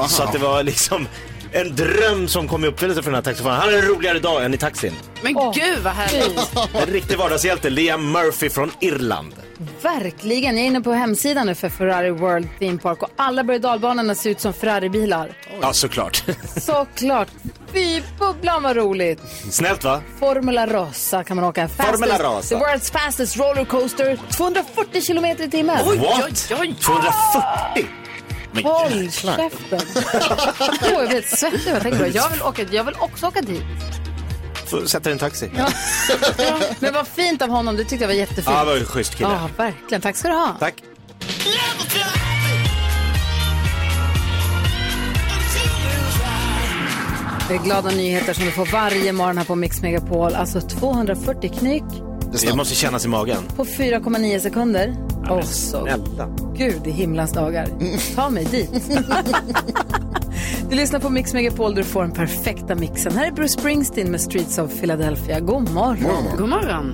Speaker 4: Så att det var liksom en dröm som kom i uppfyllelse för den här taxichauffören. Han hade en roligare dag än i taxin.
Speaker 5: Men gud vad härligt.
Speaker 4: En riktig vardagshjälte, Liam Murphy från Irland.
Speaker 1: Verkligen. Jag är inne på hemsidan nu för Ferrari World Theme Park och alla berg och dalbanorna ser ut som Ferraribilar.
Speaker 4: Ja, såklart.
Speaker 1: Såklart. Fy bubblan vad roligt.
Speaker 4: Snällt va?
Speaker 1: Formula Rossa kan man åka.
Speaker 4: Formula Rossa.
Speaker 1: The world's fastest rollercoaster. 240 kilometer i timmen.
Speaker 4: What? 240? Men
Speaker 1: Håll
Speaker 4: jäklar.
Speaker 1: käften. Åh, jag blir helt svettig. Jag, tänker bara, jag, vill åka, jag vill också åka dit.
Speaker 4: Får sätta dig i en taxi.
Speaker 1: Ja, men vad fint av honom. Det tyckte jag var jättefint.
Speaker 4: Ja, det var ju en schysst kille.
Speaker 1: Ja, verkligen. Tack ska du ha.
Speaker 4: Tack.
Speaker 1: Det är glada nyheter som du får varje morgon här på Mix Megapol. Alltså 240 knyck
Speaker 4: Det måste kännas i magen.
Speaker 1: på 4,9 sekunder. Åh, så
Speaker 4: Snälla.
Speaker 1: Gud i himlans dagar. Ta mig dit. du lyssnar på Mix Megapol där du får den perfekta mixen. Här är Bruce Springsteen med Streets of Philadelphia. God morgon.
Speaker 5: God morgon.